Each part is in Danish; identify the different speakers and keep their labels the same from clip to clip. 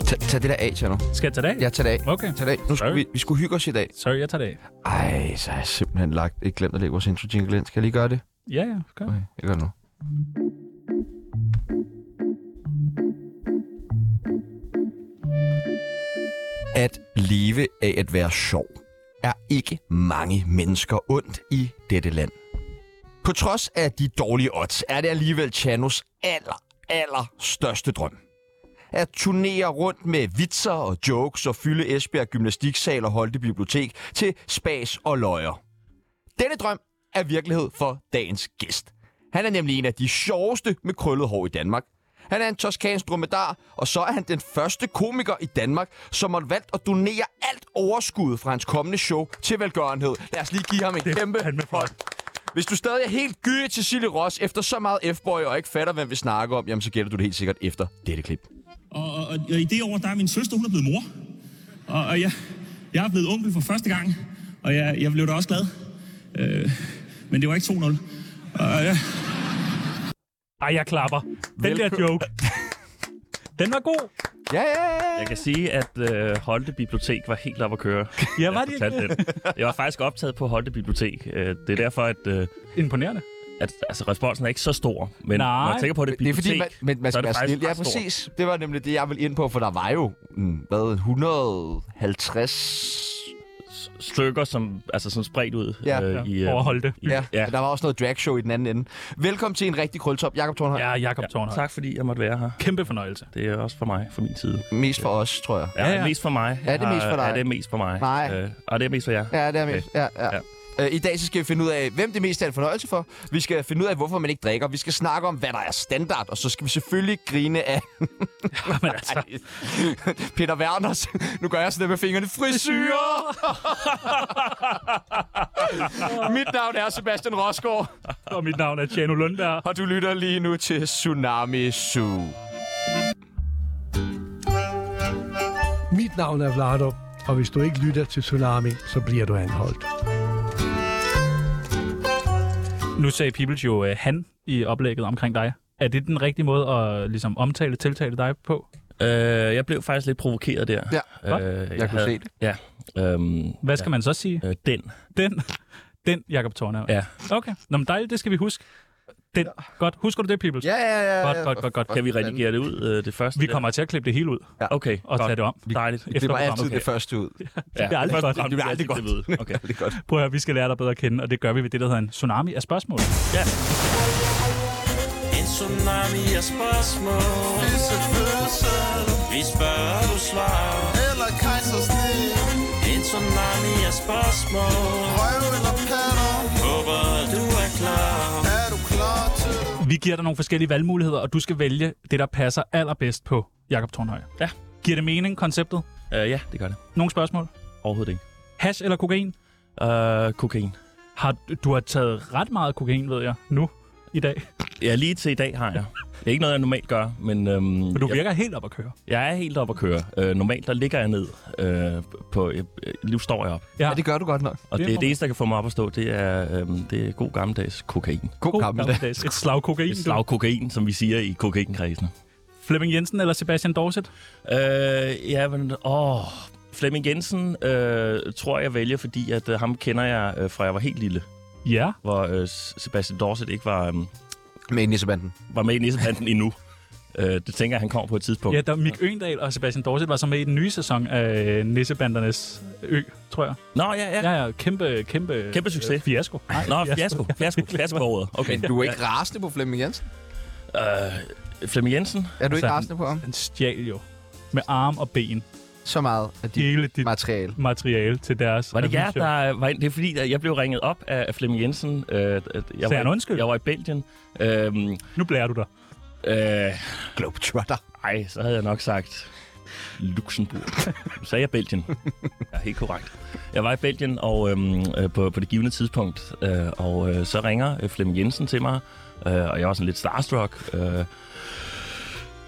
Speaker 1: Tag, tag det der af, Tjerno.
Speaker 2: Skal jeg tage det af?
Speaker 1: Jeg tager det af.
Speaker 2: Okay.
Speaker 1: Tag det af. Nu
Speaker 2: Sorry.
Speaker 1: skulle vi, vi skulle hygge os i dag.
Speaker 2: Sorry, jeg tager det af.
Speaker 1: Ej, så har jeg simpelthen lagt, ikke glemt at lægge vores intro jingle ind. Skal jeg lige gøre det?
Speaker 2: Ja, ja. Gør.
Speaker 1: Okay, jeg gør det nu. At leve af at være sjov er ikke mange mennesker ondt i dette land. På trods af de dårlige odds, er det alligevel Chanos aller, aller største drøm. At turnere rundt med vitser og jokes og fylde Esbjerg Gymnastiksal og Holte Bibliotek til spas og løjer. Denne drøm er virkelighed for dagens gæst. Han er nemlig en af de sjoveste med krøllet hår i Danmark. Han er en toskansk dromedar, og så er han den første komiker i Danmark, som har valgt at donere alt overskuddet fra hans kommende show til velgørenhed. Lad os lige give ham en
Speaker 2: Det er
Speaker 1: kæmpe
Speaker 2: fandme flot.
Speaker 1: hånd. Hvis du stadig er helt gyde til Silje Ross efter så meget f og ikke fatter, hvem vi snakker om, jamen så gælder du det helt sikkert efter dette klip.
Speaker 3: Og, og, og, og i det år, der er min søster, hun er blevet mor. Og, og jeg, jeg er blevet onkel for første gang. Og jeg, jeg blev da også glad. Øh, men det var ikke 2-0. Og, jeg,
Speaker 2: Ej, jeg klapper. Den der joke. Den var god.
Speaker 1: Ja, ja, ja.
Speaker 4: Jeg kan sige, at øh, Holte Bibliotek var helt op at køre.
Speaker 2: Ja, var
Speaker 4: Jeg
Speaker 2: det
Speaker 4: fortalte
Speaker 2: ikke?
Speaker 4: det. Jeg var faktisk optaget på Holte Bibliotek. Øh, det er derfor, at, øh,
Speaker 2: Imponerende.
Speaker 4: at altså, responsen er ikke så stor. Men
Speaker 2: Nej.
Speaker 4: når jeg tænker på det,
Speaker 1: Det er fordi, man,
Speaker 4: bibliotek,
Speaker 1: man, man
Speaker 4: så er
Speaker 1: skal
Speaker 4: det
Speaker 1: være snil. Ja,
Speaker 4: faktisk ret stort.
Speaker 1: præcis. Det var nemlig det, jeg ville ind på, for der var jo, mm, hvad, 150...
Speaker 4: stykker, som, altså, som spredt ud.
Speaker 1: Ja.
Speaker 4: øh, i,
Speaker 2: Ja, overholdt det.
Speaker 4: i-
Speaker 1: Ja, ja.
Speaker 4: ja.
Speaker 1: der var også noget dragshow i den anden ende. Velkommen til en rigtig krølletop. Jakob Tornhøj. Ja.
Speaker 2: Ja, Jakob Tornhøj.
Speaker 4: Tak fordi jeg måtte være her.
Speaker 2: Kæmpe fornøjelse.
Speaker 4: Det er også for mig, for min side.
Speaker 1: Mest for os, tror jeg.
Speaker 4: Ja,
Speaker 2: Ja,
Speaker 4: ja,
Speaker 2: ja.
Speaker 4: ja. mest for mig.
Speaker 1: Ja, det er mest for dig.
Speaker 4: Ja, det er mest for mig.
Speaker 1: Nej.
Speaker 4: Øh, og det er mest for jer.
Speaker 1: Ja, det er mest. Ja, ja.
Speaker 4: Ja.
Speaker 1: Øh, I dag så skal vi finde ud af, hvem det mest er en fornøjelse for. Vi skal finde ud af, hvorfor man ikke drikker. Vi skal snakke om, hvad der er standard. Og så skal vi selvfølgelig grine af
Speaker 2: Jamen, altså.
Speaker 1: Ej. Peter Werners. Nu gør jeg sådan der med fingrene. Frisyrer! Mit navn er Sebastian Rosgaard,
Speaker 2: Og mit navn er Tjano Lundberg.
Speaker 1: og du lytter lige nu til Tsunami Zoo.
Speaker 5: Mit navn er Vlado, og hvis du ikke lytter til Tsunami, så bliver du anholdt.
Speaker 2: Nu sagde Peoples jo øh, han i oplægget omkring dig. Er det den rigtige måde at ligesom, omtale, tiltale dig på?
Speaker 4: Øh, jeg blev faktisk lidt provokeret der. Øh,
Speaker 1: Ja,
Speaker 2: godt.
Speaker 4: jeg,
Speaker 1: kunne se det.
Speaker 4: Ja. Øhm,
Speaker 2: Hvad skal
Speaker 4: ja.
Speaker 2: man så sige?
Speaker 4: Øh, den.
Speaker 2: Den, den Jakob Tornhøj.
Speaker 4: Ja.
Speaker 2: Okay. Nå, men dejligt, det skal vi huske. Den. Godt. Husker du det, Peoples?
Speaker 1: Ja, ja, ja. ja.
Speaker 2: Godt, godt, godt, godt.
Speaker 4: Kan vi redigere det ud, øh, det første?
Speaker 2: Vi
Speaker 4: der?
Speaker 2: kommer til at klippe det hele ud
Speaker 4: Okay,
Speaker 2: og tage det om.
Speaker 4: Dejligt.
Speaker 2: efter
Speaker 1: Det var altid
Speaker 2: programmet.
Speaker 1: det første ud. Det
Speaker 4: Ja.
Speaker 2: Det er aldrig godt.
Speaker 4: Det er aldrig godt. Okay.
Speaker 1: er godt.
Speaker 2: Prøv at høre, vi skal lære dig bedre at kende, og det gør vi ved det, der hedder en tsunami af spørgsmål.
Speaker 6: En tsunami af spørgsmål Visse fødsel Vi spørger, du svarer Eller kejsersnit En tsunami af spørgsmål Røv eller patter Håber, du er klar Er du klar til det?
Speaker 2: Vi giver dig nogle forskellige valgmuligheder, og du skal vælge det, der passer allerbedst på Jakob Tornhøj.
Speaker 4: Ja.
Speaker 2: Giver det mening, konceptet?
Speaker 4: Øh, ja, det gør det.
Speaker 2: Nogle spørgsmål?
Speaker 4: Overhovedet ikke.
Speaker 2: Hash eller kokain?
Speaker 4: Øh, kokain.
Speaker 2: Har, du har taget ret meget kokain, ved jeg, nu i dag.
Speaker 4: Ja, lige til i dag har jeg. Det er ikke noget, jeg normalt gør, men øhm,
Speaker 2: Men du
Speaker 4: jeg,
Speaker 2: virker helt op at køre.
Speaker 4: jeg er helt op at køre. Øh, normalt, der ligger jeg ned. Øh, på, jeg, øh, nu står jeg op.
Speaker 1: Ja, det gør du godt nok.
Speaker 2: Det
Speaker 4: Og det,
Speaker 2: må
Speaker 4: det,
Speaker 2: man-
Speaker 4: det eneste, der kan få mig op at stå, det er, øhm, det er god gammeldags kokain.
Speaker 1: God gammel.
Speaker 2: gammeldags. Et slag kokain.
Speaker 4: Et slag kokain, som vi siger i kokainkredsen.
Speaker 2: Du. Flemming Jensen eller Sebastian Dorset?
Speaker 4: Øh, ja, men... Åh, Flemming Jensen øh, tror jeg vælger, fordi at, øh, ham kender jeg øh, fra jeg var helt lille.
Speaker 2: Ja.
Speaker 4: Hvor øh, Sebastian Dorset ikke var, øh,
Speaker 1: Med nissebanden.
Speaker 4: var med i Nissebanden endnu. Øh, det tænker jeg, han kommer på et tidspunkt.
Speaker 2: Ja, der Mik Øendal og Sebastian Dorset var så med i den nye sæson af Nissebandernes Ø, tror jeg.
Speaker 4: Nå, ja, ja.
Speaker 2: Ja, ja, kæmpe, kæmpe,
Speaker 4: Kæmpe succes.
Speaker 2: øh, fiasko. Nej,
Speaker 4: Nå, fiasko. Fiasko. Fiasko på ordet. Okay.
Speaker 1: Men du er ikke rasende på Flemming Jensen?
Speaker 4: Øh, Flemming Jensen.
Speaker 1: Er du ikke
Speaker 2: Altså,
Speaker 1: rasende på ham?
Speaker 2: Han stjal jo med arm og ben
Speaker 1: Så meget af dit
Speaker 2: hele dit
Speaker 1: materiale.
Speaker 2: materiale til deres
Speaker 4: Var det jer,
Speaker 2: revyshow.
Speaker 4: der var ind? Det er fordi, at jeg blev ringet op af af Flemming Jensen. Øh, at jeg,
Speaker 2: han
Speaker 4: var,
Speaker 2: undskyld?
Speaker 4: i- jeg var i Belgien. Øhm,
Speaker 2: Nu blærer du dig.
Speaker 4: øh,
Speaker 1: Globetrotter.
Speaker 4: Ej, så havde jeg nok sagt Luxembourg. Nu sagde jeg Belgien. Ja, helt korrekt. Jeg var i Belgien og øhm, øh, på, på det givende tidspunkt, øh, og øh, så ringer øh, Flemming Jensen til mig, øh, og jeg var sådan lidt starstruck. Øh,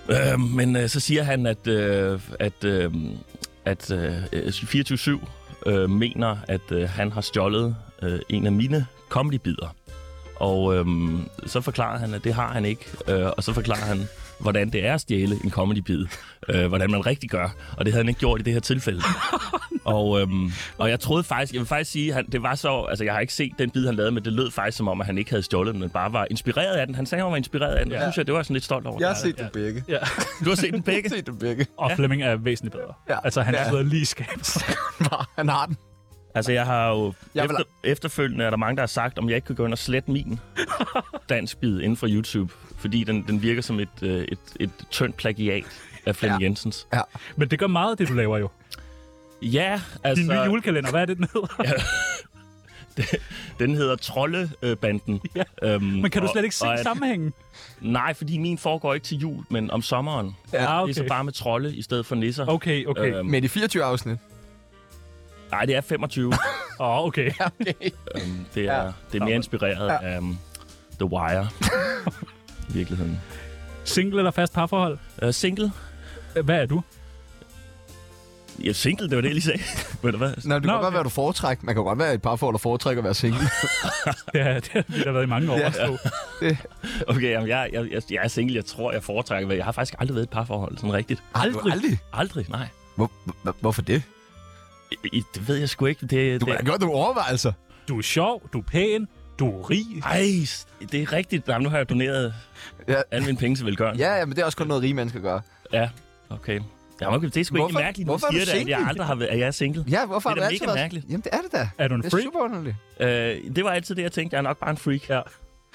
Speaker 4: øh, men øh, så siger han, at, øh, at, øh, at øh, 24-7 øh, mener, at øh, han har stjålet øh, en af mine comedy-bider. øh, Og øhm, så forklarer han, at det har han ikke. Øh, og så forklarer han, hvordan det er at stjæle en comedybid. Øh, hvordan man rigtig gør. Og det havde han ikke gjort i det her tilfælde. og, øhm, og jeg troede faktisk, jeg vil faktisk sige, han, det var så, altså jeg har ikke set den bid, han lavede, men det lød faktisk som om, at han ikke havde stjålet den, men bare var inspireret af den. Han sagde, at han var inspireret af den. Ja. Det synes jeg, det var jeg sådan lidt stolt over.
Speaker 7: Jeg har set dem begge.
Speaker 2: Ja.
Speaker 4: Du har set den
Speaker 7: Jeg
Speaker 4: begge.
Speaker 7: har set dem begge.
Speaker 2: Og Flemming er væsentligt bedre.
Speaker 7: Ja.
Speaker 2: Altså, han
Speaker 7: Ja.
Speaker 2: sidder lige i skabet.
Speaker 7: Han har den.
Speaker 4: Altså, jeg har jo...
Speaker 7: Jeg
Speaker 4: Jeg
Speaker 7: vil-
Speaker 4: efter, efterfølgende er der mange, der har sagt, om jeg ikke kan gå ind og slette min dansk bid inden for YouTube. Fordi den, den virker som et, øh, et, et tyndt plagiat af Flemming ja. Jensens.
Speaker 2: Men det gør meget af det, du laver jo.
Speaker 4: Ja,
Speaker 2: Din nye
Speaker 4: altså,
Speaker 2: julekalender, hvad er det, den hedder? Ja.
Speaker 4: den hedder Trollebanden.
Speaker 2: Ja.
Speaker 4: Øhm,
Speaker 2: Men kan du
Speaker 4: og-
Speaker 2: slet ikke se
Speaker 4: og er-
Speaker 2: sammenhængen?
Speaker 4: Nej, fordi min foregår ikke til jul, men om sommeren. Okay.
Speaker 2: Ja, ah,
Speaker 4: Det er så
Speaker 2: okay.
Speaker 4: bare med trolde i stedet for nisser.
Speaker 2: Okay, okay.
Speaker 4: Øhm,
Speaker 7: Men i 24 afsnit.
Speaker 4: nej, det er 25.
Speaker 2: Åh, oh, okay.
Speaker 4: øhm, det, er, ja. det er mere inspireret ja. af um, The Wire. I virkeligheden.
Speaker 2: Single eller fast parforhold?
Speaker 4: Uh, single?
Speaker 2: Hvad er du?
Speaker 4: Ja, single, det var det, jeg lige sagde. Ved du hvad?
Speaker 7: Nå, det kan
Speaker 2: Nå,
Speaker 7: godt være,
Speaker 2: okay.
Speaker 7: hvad du foretrækker. Man kan godt være i et par forhold, der foretrækker at være single.
Speaker 2: Ja, det har vi da været i mange år.
Speaker 7: Ja.
Speaker 2: Ja.
Speaker 4: Okay, jamen, jeg, jeg, jeg, jeg er single. Jeg tror, jeg foretrækker hvad. Jeg har faktisk aldrig været i et parforhold, sådan rigtigt.
Speaker 7: Aldrig. Aldrig.
Speaker 4: Aldrig, nej.
Speaker 7: Hvor, hvor- hvorfor det?
Speaker 4: I, I, det ved jeg sgu ikke. Det,
Speaker 7: Du
Speaker 4: det,
Speaker 7: har gjort nogle overvejelser.
Speaker 2: Du er sjov, du er pæn, du er rig.
Speaker 4: Ej, s- det er rigtigt. Jamen, nu har jeg doneret
Speaker 7: Ja.
Speaker 4: ja. alle mine penge til velgøren.
Speaker 7: Ja, ja, men det er også kun noget, rige mennesker gør.
Speaker 4: ja. Okay. Jamen, okay, det er sgu
Speaker 7: Hvorfor-
Speaker 4: ikke mærkeligt, når
Speaker 7: hvorfor er
Speaker 4: du siger
Speaker 7: du
Speaker 4: det, at jeg
Speaker 7: single?
Speaker 4: aldrig har været, at jeg er single.
Speaker 7: Ja, hvorfor
Speaker 4: Det er
Speaker 7: har
Speaker 4: da
Speaker 7: altid
Speaker 4: mega
Speaker 7: været-
Speaker 4: mærkeligt.
Speaker 7: Jamen, det er det da.
Speaker 2: Er du en
Speaker 7: Det er
Speaker 2: freak?
Speaker 7: super underligt.
Speaker 4: Øh, det var altid det, jeg tænkte. Jeg er nok bare en freak.
Speaker 2: Ja.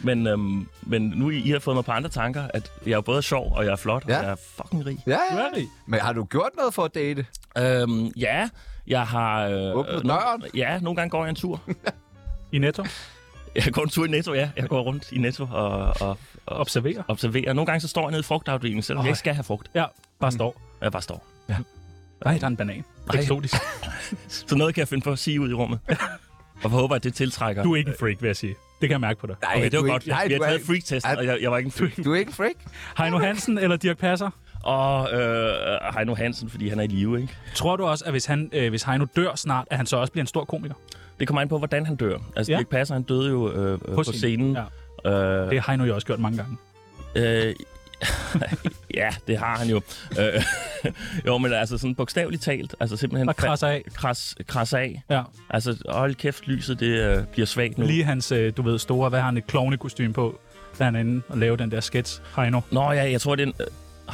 Speaker 4: Men, øhm, men nu I, I har fået mig på andre tanker, at jeg er både sjov, og jeg er flot, ja.
Speaker 7: Ja.
Speaker 4: og jeg er fucking rig.
Speaker 7: Ja,
Speaker 2: Du
Speaker 7: ja.
Speaker 2: er rig.
Speaker 7: Men har du gjort noget for at date?
Speaker 4: Øhm, ja, jeg har... Øh,
Speaker 7: Åbnet
Speaker 4: no-
Speaker 7: døren?
Speaker 4: Ja, nogle gange går jeg en tur.
Speaker 2: I netto.
Speaker 4: Jeg går en tur i Netto, ja. Jeg går rundt i Netto og, og, og
Speaker 2: Observerer.
Speaker 4: observerer. Nogle gange så står jeg nede i frugtafdelingen, selvom
Speaker 2: Ej.
Speaker 4: jeg ikke skal have frugt.
Speaker 2: Ja, bare står.
Speaker 4: Jeg bare står.
Speaker 2: Nej, der er en banan. Eksotisk.
Speaker 4: Så noget kan jeg finde på at sige ud i rummet. og håber, at det tiltrækker.
Speaker 2: Du er ikke en freak, vil jeg sige. Det kan jeg mærke på dig.
Speaker 4: okay, det
Speaker 7: du
Speaker 4: var
Speaker 7: er
Speaker 4: godt.
Speaker 7: ikke- nej,
Speaker 4: vi har
Speaker 7: du er
Speaker 4: taget
Speaker 7: ikke-
Speaker 4: freak-testen,
Speaker 7: Ej.
Speaker 4: og jeg, jeg var ikke en freak.
Speaker 7: Du er ikke en freak?
Speaker 2: Heino Hansen eller Dirk Passer?
Speaker 4: Og øh, Heino Hansen, fordi han er i live, ikke?
Speaker 2: Tror du også, at hvis, han, øh, hvis Heino dør snart, at han så også bliver en stor komiker?
Speaker 4: Det kommer an på, hvordan han dør. Altså,
Speaker 2: Ja.
Speaker 4: ja. Dirk Passer, han døde jo øh, på, på scenen.
Speaker 2: Ja.
Speaker 4: Ja. Øh,
Speaker 2: Det har Heino jo også gjort mange gange.
Speaker 4: Øh, ja, det har han jo. Øh, jo, men altså sådan bogstaveligt talt. Altså simpelthen...
Speaker 2: Og krasser af.
Speaker 4: Kras, kras af.
Speaker 2: Ja.
Speaker 4: Altså, hold kæft, lyset det øh, bliver svagt nu.
Speaker 2: Lige hans, øh, du ved, store, hvad har han et klovnekostyme på, da han er inde og laver den der sketch, Heino.
Speaker 4: Nå ja, jeg tror, det er en... Øh,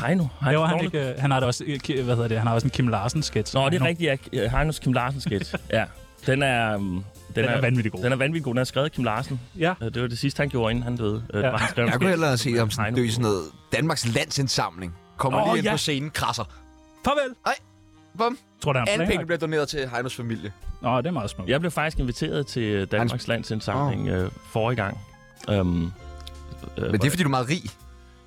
Speaker 4: Heino? Heino
Speaker 2: Laver han,
Speaker 4: Dorte?
Speaker 2: ikke, øh, han har da også, øh, ki- hvad hedder det, han har også en Kim Larsen sketch.
Speaker 4: Nå, det er rigtigt. Ja, Heinos Kim Larsen sketch. ja. Den er... øhm, Den,
Speaker 2: Den er vanvittig god.
Speaker 4: Den er vanvittig god. Den er skrevet af Kim Larsen.
Speaker 2: Ja.
Speaker 4: Øh, Det var det sidste, han gjorde, inden han døde. Øh,
Speaker 2: Ja.
Speaker 4: var, han skrev en
Speaker 7: Jeg kunne
Speaker 4: sketch.
Speaker 7: hellere se, om sådan,
Speaker 4: Heino.
Speaker 7: det er sådan noget Danmarks landsindsamling. Kommer
Speaker 2: Åh,
Speaker 7: lige ind
Speaker 2: ja.
Speaker 7: på scenen, krasser.
Speaker 2: Farvel!
Speaker 7: Bum.
Speaker 2: Tror du, han
Speaker 7: Alle penge
Speaker 2: planlagt?
Speaker 7: bliver doneret til Heinos familie.
Speaker 2: Nå, det er meget smukt.
Speaker 4: Jeg blev faktisk inviteret til øh, Danmarks Landsindsamling øh, forrige gang. Øhm, øh,
Speaker 7: Men det er, fordi du er meget rig.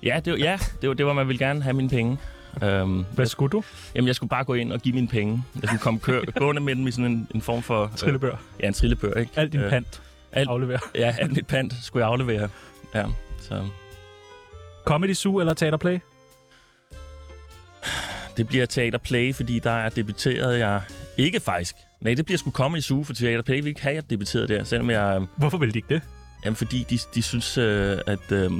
Speaker 4: Ja, det var, ja, det var, det var man ville gerne have mine penge. Øhm,
Speaker 2: Hvad skulle du?
Speaker 4: jamen, jeg skulle bare gå ind og give mine penge. Jeg skulle komme kør, gående med dem i sådan en, en form for... øh,
Speaker 2: Trillebør.
Speaker 4: Ja, en trillebør, ikke?
Speaker 2: Alt din
Speaker 4: Øh,
Speaker 2: pant.
Speaker 4: alt-
Speaker 2: Aflever.
Speaker 4: Ja, alt mit pant skulle jeg aflevere. Ja, så
Speaker 2: Comedy Zoo eller Teaterplay?
Speaker 4: det bliver Teater Play, fordi der er debuteret jeg... Ikke faktisk. Nej, det bliver sgu komme i suge, for Teater Play vil ikke have, jeg debuteret der, selvom jeg... øh,
Speaker 2: Hvorfor ville de ikke det?
Speaker 4: Jamen, fordi de, de synes, øh, at... Øh,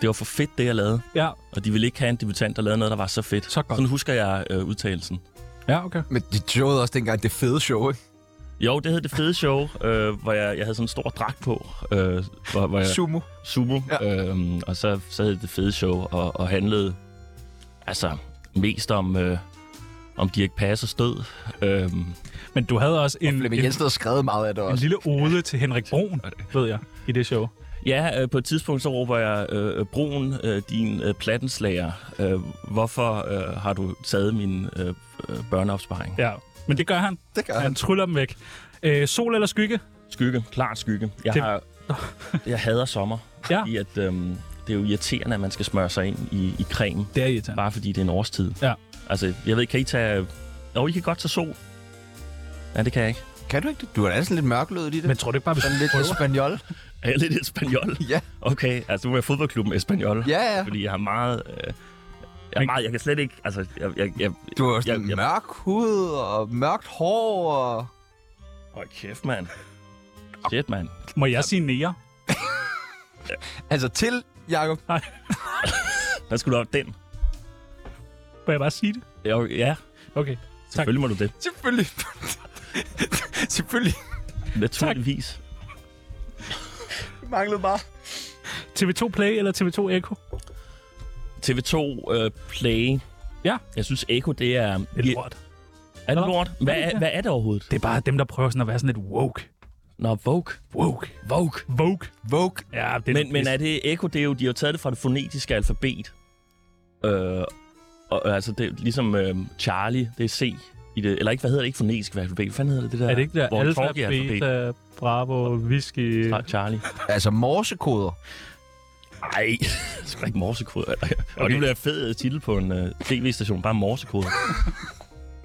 Speaker 4: det var for fedt, det jeg lavede.
Speaker 2: Ja,
Speaker 4: Og de ville ikke have en debutant, der lavede noget, der var så fedt.
Speaker 2: Så godt.
Speaker 4: Sådan husker jeg øh, udtalelsen.
Speaker 2: ja okay.
Speaker 7: Men de showede også dengang det fede show, ikke?
Speaker 4: Jo, det hed Det Fede Show, øh, hvor jeg, jeg havde sådan en stor dragt på. Øh, hvor, hvor jeg,
Speaker 7: Sumo.
Speaker 4: sumo.
Speaker 7: Ja.
Speaker 4: Ja. Øh, og så, så hed det Det Fede Show og, og handlede altså mest om, øh, om Dirk Passers død. Øh,
Speaker 2: Men du havde også en,
Speaker 7: Flemming
Speaker 2: en,
Speaker 7: Jensen havde skrevet meget af det
Speaker 2: en
Speaker 7: også.
Speaker 2: lille ode til Henrik Broen, ved jeg, i det show.
Speaker 4: ja, øh, på et tidspunkt så råber jeg, øh, Broen, øh, din øh, plattenslager, øh, hvorfor øh, har du taget min øh, øh, børneopsparing? Ja.
Speaker 2: Ja, men det gør han.
Speaker 7: Det gør han.
Speaker 2: Han tryller dem væk. Øh, sol eller skygge?
Speaker 4: Skygge, klart skygge. Jeg,
Speaker 2: Det-
Speaker 4: har, jeg hader sommer,
Speaker 2: Ja.
Speaker 4: fordi at, øh, det er jo irriterende, at man skal smøre sig ind i, i creme.
Speaker 2: Det er irriterende.
Speaker 4: Bare fordi det er en årstid.
Speaker 2: Ja.
Speaker 4: Altså, jeg ved ikke, kan I tage... Jo, I kan godt tage sol. Ja, det kan jeg ikke.
Speaker 7: Kan du ikke det? Du er da sådan lidt mørklødet i det.
Speaker 2: Men tror du ikke bare, hvis
Speaker 7: Sådan lidt espanjol.
Speaker 4: Er jeg lidt espanjol?
Speaker 7: Ja.
Speaker 4: Okay, altså nu er jeg fodboldklubben espanjol.
Speaker 7: Ja, ja.
Speaker 4: Fordi jeg har meget... Øh, jeg, er
Speaker 2: Men-
Speaker 4: meget, jeg kan slet ikke... Altså, jeg... jeg, jeg
Speaker 7: Du har sådan
Speaker 4: Jeg- jeg-
Speaker 7: mørk hud og mørkt hår og...
Speaker 4: Hold kæft, mand. Shit, mand.
Speaker 2: Må jeg sige nære?
Speaker 7: Altså til, Jacob.
Speaker 4: Der skulle du op den.
Speaker 2: Må jeg bare sige det?
Speaker 4: Jo, Ja,
Speaker 2: Okay. Tak.
Speaker 4: selvfølgelig må du det.
Speaker 1: Selvfølgelig. Selvfølgelig.
Speaker 4: Naturligvis.
Speaker 1: Manglede bare.
Speaker 2: TV2 Play eller TV2 Echo?
Speaker 4: TV2 øh, Play.
Speaker 2: Ja.
Speaker 4: Jeg synes, Echo, det er...
Speaker 2: Et
Speaker 4: Ja,
Speaker 2: lort.
Speaker 4: Er det lort? Hvad,
Speaker 2: Ja.
Speaker 4: er, hvad er det overhovedet?
Speaker 2: Det er bare dem, der prøver sådan at være sådan lidt woke.
Speaker 4: Nå, Vogue.
Speaker 2: Woke.
Speaker 4: Vogue.
Speaker 2: Woke.
Speaker 1: Vogue.
Speaker 2: Ja, det er
Speaker 4: Men, men
Speaker 2: pis.
Speaker 4: er det Echo? Det er jo, de har jo taget det fra det fonetiske alfabet. Øh, og, øh, altså, det er ligesom øh, Charlie, det er C. I det, eller ikke, hvad hedder det? Ikke fonetisk alfabet. Hvad fanden hedder det, det der?
Speaker 2: er det ikke der
Speaker 4: Hvor
Speaker 2: alfa,
Speaker 4: Torgi er altså alfabet.
Speaker 2: beta, bravo, whisky?
Speaker 4: Fra Charlie.
Speaker 1: Altså morsekoder.
Speaker 4: Nej, det skal ikke morsekoder. Okay. Og
Speaker 2: Okay.
Speaker 4: det bliver en fed titel på en øh, tv-station. Bare morsekoder.